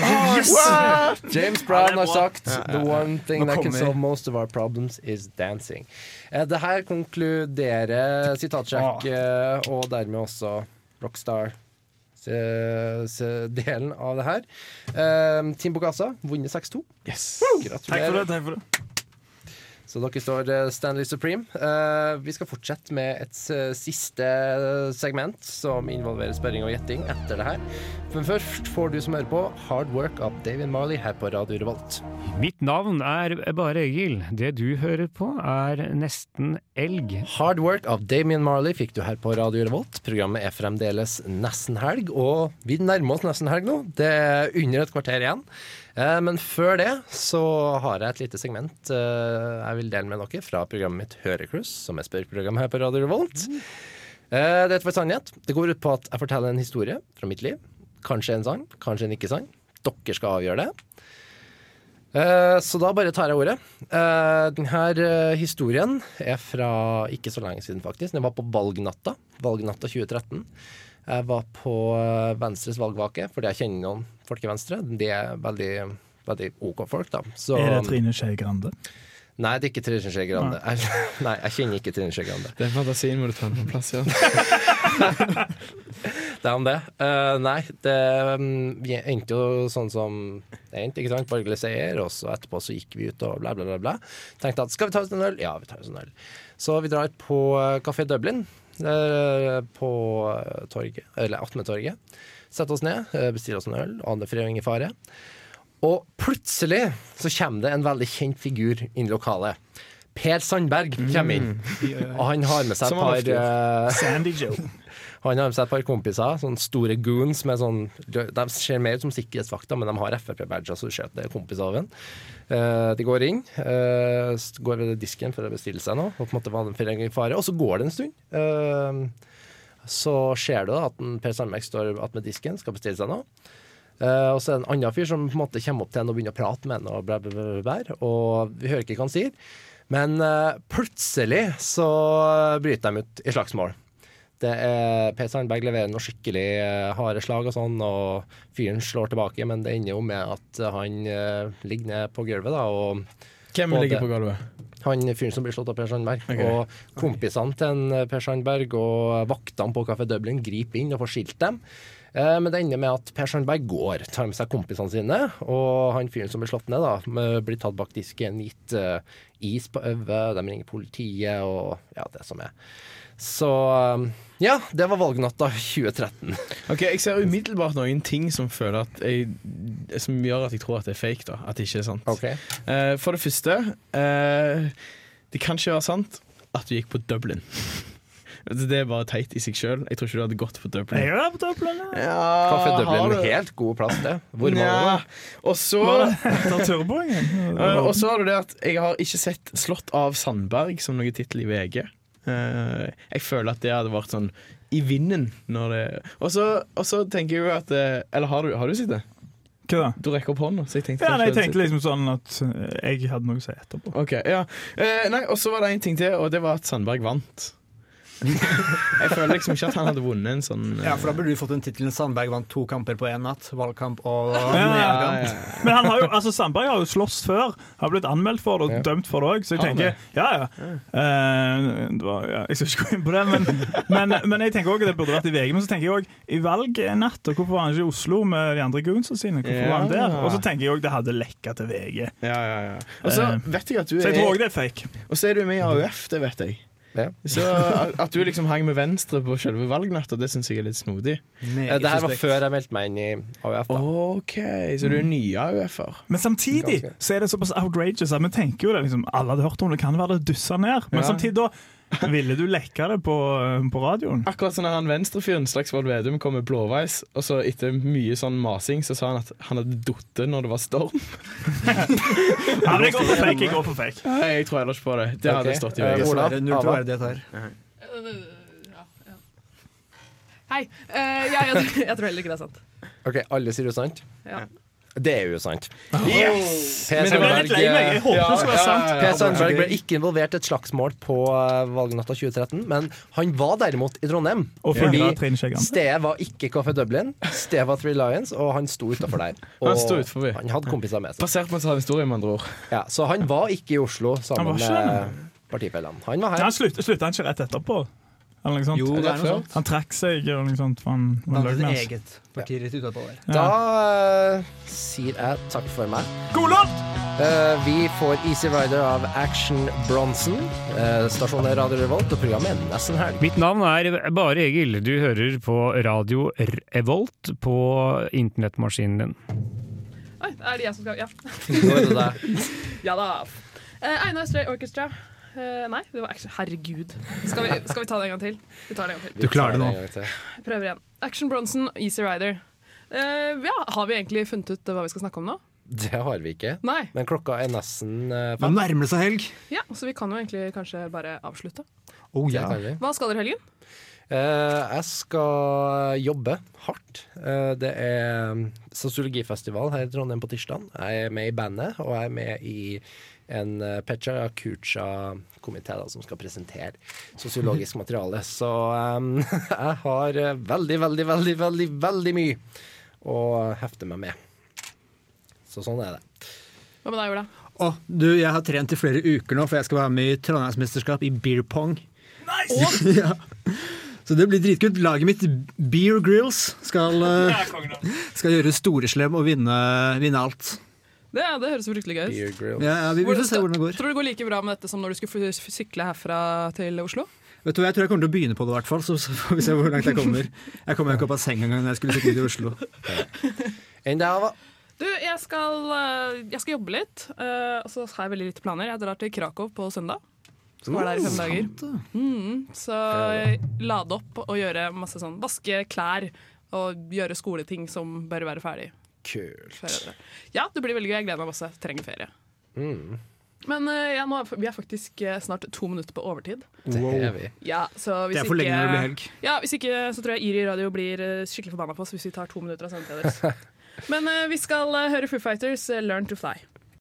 James Brown har sagt The one thing
Nå
that can
kommer-
solve most of our problems is dancing. Eh, det her konkluderer sitatsjekk, eh, og dermed også Rockstar eh, se- delen av det her. Eh, Team Bogassa vunnet 6-2. Gratulerer.
Takk for det. takk for det
Så dere står eh, Stanley Supreme. Eh, vi skal fortsette med et eh, siste segment som involverer sperring og gjetting etter det her. Men først får du som hører på Hard Work av David Marley her på Radio Revolt.
Mitt navn er Bare Egil. Det du hører på, er nesten elg.
Hard Work av Damien Marley fikk du her på Radio Revolt. Programmet er fremdeles nesten helg, og vi nærmer oss nesten helg nå. Det er under et kvarter igjen. Eh, Men før det så har jeg et lite segment eh, jeg vil dele med dere fra programmet mitt Hørekluss, som er spørreprogram her på Radio Revolt. Eh, Det heter for sannhet. Det går ut på at jeg forteller en historie fra mitt liv. Kanskje en sann, kanskje en ikke sann. Dere skal avgjøre det. Eh, Så da bare tar jeg ordet. Eh, Denne historien er fra ikke så lenge siden, faktisk. Den var på valgnatta. Valgnatta 2013. Jeg var på eh, Venstres valgvake, fordi jeg kjenner noen folk i Venstre. De er veldig, veldig OK folk, da. Så-
Er det Trine Skei Grande?
Nei, det er ikke Trine Skei Grande. Jeg- Nei, jeg kjenner ikke Trine Skei Grande.
Den fantasien må du ta på plass, ja.
Det er om det. Eh, nei, det mm, vi endte jo sånn som det endte, ikke sant? Borgerlig seier, og så etterpå så gikk vi ut og bla, bla, bla. bla. Tenkte at skal vi ta oss en øl? Ja, vi tar oss en øl. Så vi drar på eh, Café Dublin eh, på eh, torget, eller Atmetorget. Setter oss ned, eh, bestiller oss en øl. Aner fred og ingen fare. Og plutselig så kommer det en veldig kjent figur inn i lokalet. Per Sandberg kommer inn, og han har med seg
Mm. Som han
et par eh,
Sandy Joe.
han har med seg et par kompiser, sånne store goons med sånn De ser mer ut som sikkerhetsvakter, men de har Frp-badger, så du ser at det er kompiser av en. Eh, de går inn, eh, s- går ved disken for å bestille seg noe, og på en måte var den for egen fare. Og så går det en stund. Eh, så ser du da at en Per Sandberg står attmed disken, skal bestille seg noe. Eh, og så er det en annen fyr som på en måte kommer opp til en og begynner å prate med en, og, bla, bla, bla, bla, bla, og vi hører ikke hva han sier. Men eh, plutselig så bryter de ut i slagsmål. Det er Per Sandberg leverer noen skikkelig eh, harde slag og sånn, og fyren slår tilbake, men det ender jo med at han eh, ligger ned på gulvet, da, og
Hvem
både-
ligger på gulvet?
han fyren som blir slått av Per Sandberg.
Ok.
Og kompisene til en eh, Per Sandberg og vaktene på Café Dublin griper inn og får skilt dem. Eh, Men det ender med at Per Sandberg går, tar med seg kompisene sine, og han fyren som blir slått ned, da, med- blir tatt bak disken, gitt eh, is på øyet, de ringer politiet og ja, det som er. Så eh, ja, det var valgnatta 2013.
Ok, Jeg ser umiddelbart noen ting som føler at jeg, Som gjør at jeg tror at det er fake. da At det ikke er sant. Eh, for det første eh, Det kan ikke være sant at du gikk på Dublin. Altså, Det er bare teit i seg sjøl. Jeg tror ikke du hadde gått på Dublin.
Jeg er på toppen, ja.
Ja,
Café
Ah, har
Dublin,
du-
helt god plass, det. Hvor mange
Nja,
var det?
Og så
Var det etter turboingen?
Eh, Og så har du det at jeg har ikke sett 'Slått av Sandberg' som noen tittel i VG. Eh, jeg føler at det hadde vært sånn i vinden når det Og så og så tenker jeg jo at eh, Eller har du, har du sett det?
Hva da?
Du rekker opp hånda, så jeg tenkte
Ja,
kanskje
nei, jeg
du hadde
tenkte liksom sånn at eh, jeg hadde noe å si etterpå.
Ok, ja Eh, Nei, Og så var det en ting til, og det var at Sandberg vant. jeg føler liksom ikke at han hadde vunnet en sånn eh,
Ja, for da burde du fått den tittelen 'Sandberg vant to kamper på én natt'. Valgkamp og
ja, ja. Men han har jo, altså Sandberg har jo slåss før. Har blitt anmeldt for det og dømt for det òg, så jeg
Har han
tenker Ja, ja. Eh, det var, ja. Jeg skal ikke gå inn på det, men, men, men jeg tenker også at det burde vært i VG. Men så tenker jeg òg i valgnatta, hvorfor var han ikke i Oslo med de andre goonsa sine? Hvorfor var han der?
Ja.
Og så tenker jeg òg det hadde lekka til VG.
Ja, ja, ja. Og så
Eh,
vet jeg at du
Så jeg tror òg det er fake.
Og så er du med i AUF, det vet jeg.
Ja.
Så at- at du liksom hang med Venstre på selve valgnatta, det syns jeg er litt snodig.
Eh, Det her var før jeg meldte meg inn i AUF. da.
OK, så du er ny AUF-er.
Men samtidig så er det såpass outrageous at vi tenker jo det liksom, alle hadde hørt om det, kan være det dyssa ned. Men
Ja.
samtidig da ville du lekke det på, eh, på radioen.
Akkurat sånn at han venstrefyren Slagsvold Vedum kom med blåveis, og så etter mye sånn masing så sa han at han hadde datt når det var storm.
Ja, men jeg går for fake. jeg går for fake
Nei, jeg tror heller ikke på det. Det hadde
Ok.
stått i
Eh,
VG.
Ola,
Dessverre, null til å
Ava.
være det her.
Hei. eh, ja, jeg, jeg tror heller ikke det er sant.
Ok, alle sier usant?
Ja.
Det er jo usant.
Yes!
Per
Men jeg ble litt lei meg. Jeg håpet det skulle være sant.
Per eh, Sandberg ble ikke involvert i et slagsmål på eh, valgnatta 2013, men han var derimot i Trondheim.
Og følger av Trine Skei Grande.
stedet var ikke Café Dublin, stedet var Three Lions, og han sto utafor der. Og
Han sto utenfor.
han hadde kompiser med seg.
Basert på en sann historie, med andre ord.
Ja, så han var ikke i Oslo
Han var
sammen
ikke
med partifellene. Han var
Han
her.
slutta, slutta han ikke rett etterpå? Eller noe sånt.
Jo, det er noe sånt.
Han trakk seg eller noe sånt. for Han, han
Han
løy
hadde
med
sitt
oss.
eget parti rett utapå der.
Da eh, sier jeg takk for meg.
God låt!
Eh, vi får Easy Rider av Action Bronson. Eh, stasjonen er Radio Revolt, og programmet er nesten helg.
Mitt navn er Bare Egil. Du hører på Radio Revolt på internettmaskinen din.
Oi, er det jeg som skal Ja.
Nå er det deg.
ja da. Eh, Einar Stray Orchestra. Eh, nei, det var Action Herregud. Skal vi, skal vi ta det en gang til? Vi tar det en gang til.
Vi
klarer det nå.
tar en gang til.
Prøver igjen. Action Bronson, Easy Rider. Eh, ja, har vi egentlig funnet ut hva vi skal snakke om nå?
Det har vi ikke.
Nei.
Men klokka er nesten eh,
Nå
fem.
nærmer det seg helg.
Ja, Så vi kan jo egentlig kanskje bare avslutte.
Oh,
Det
ja.
kan vi.
Hva skal dere i helgen?
Eh, jeg skal jobbe hardt. Eh, det er mm, sosiologifestival her i Trondheim på tirsdag. Jeg er med i bandet, og jeg er med i en eh, Pecha Kucha-komité da, som skal presentere sosiologisk materiale. Så eh, jeg har eh, veldig, veldig, veldig, veldig, veldig mye å hefte meg med. Så sånn er det.
Hva med deg, Ola?
Å, du, jeg har trent i flere uker nå, for jeg skal være med i Trondheimsmesterskap i beer pong. Nice! ja. Så det blir dritkult. Laget mitt Beer Grills skal, eh, skal gjøre storeslem og vinne, vinne alt.
Det, det høres fryktelig gøy ut.
Beer grill.
Ja, ja, vi, vi får se hvordan det går.
Tror du det går like bra med dette som når du skulle f- sykle herfra til Oslo?
Vet du hva, Jeg tror jeg kommer til å begynne på det, i hvert fall. Så, så får vi se hvor langt jeg kommer. Jeg kommer jo ikke opp av senga engang når jeg skulle sykle til Oslo.
Enn deg, Ava?
Du, jeg skal, eh, jeg skal jobbe litt, eh, og så har jeg veldig lite planer. Jeg drar til Krakow på søndag. Skal være der i fem dager. Mm, så lade opp og gjøre masse sånn Vaske klær og gjøre skoleting som bør være ferdig.
Kult.
før jeg drar. Ja, det blir veldig gøy. Jeg gleder meg masse. Trenger ferie.
Mm.
Men eh, ja, nå er, vi er faktisk eh, snart to minutter på overtid.
Det er vi.
Ja, så hvis
Det er for
ikke,
lenge når det blir helg.
Ja, hvis ikke så tror jeg Iri Radio blir eh, skikkelig forbanna på oss hvis vi tar to minutter av sendetida deres. Men eh, vi skal eh, høre Foo Fighters' eh, 'Learn to Fly'.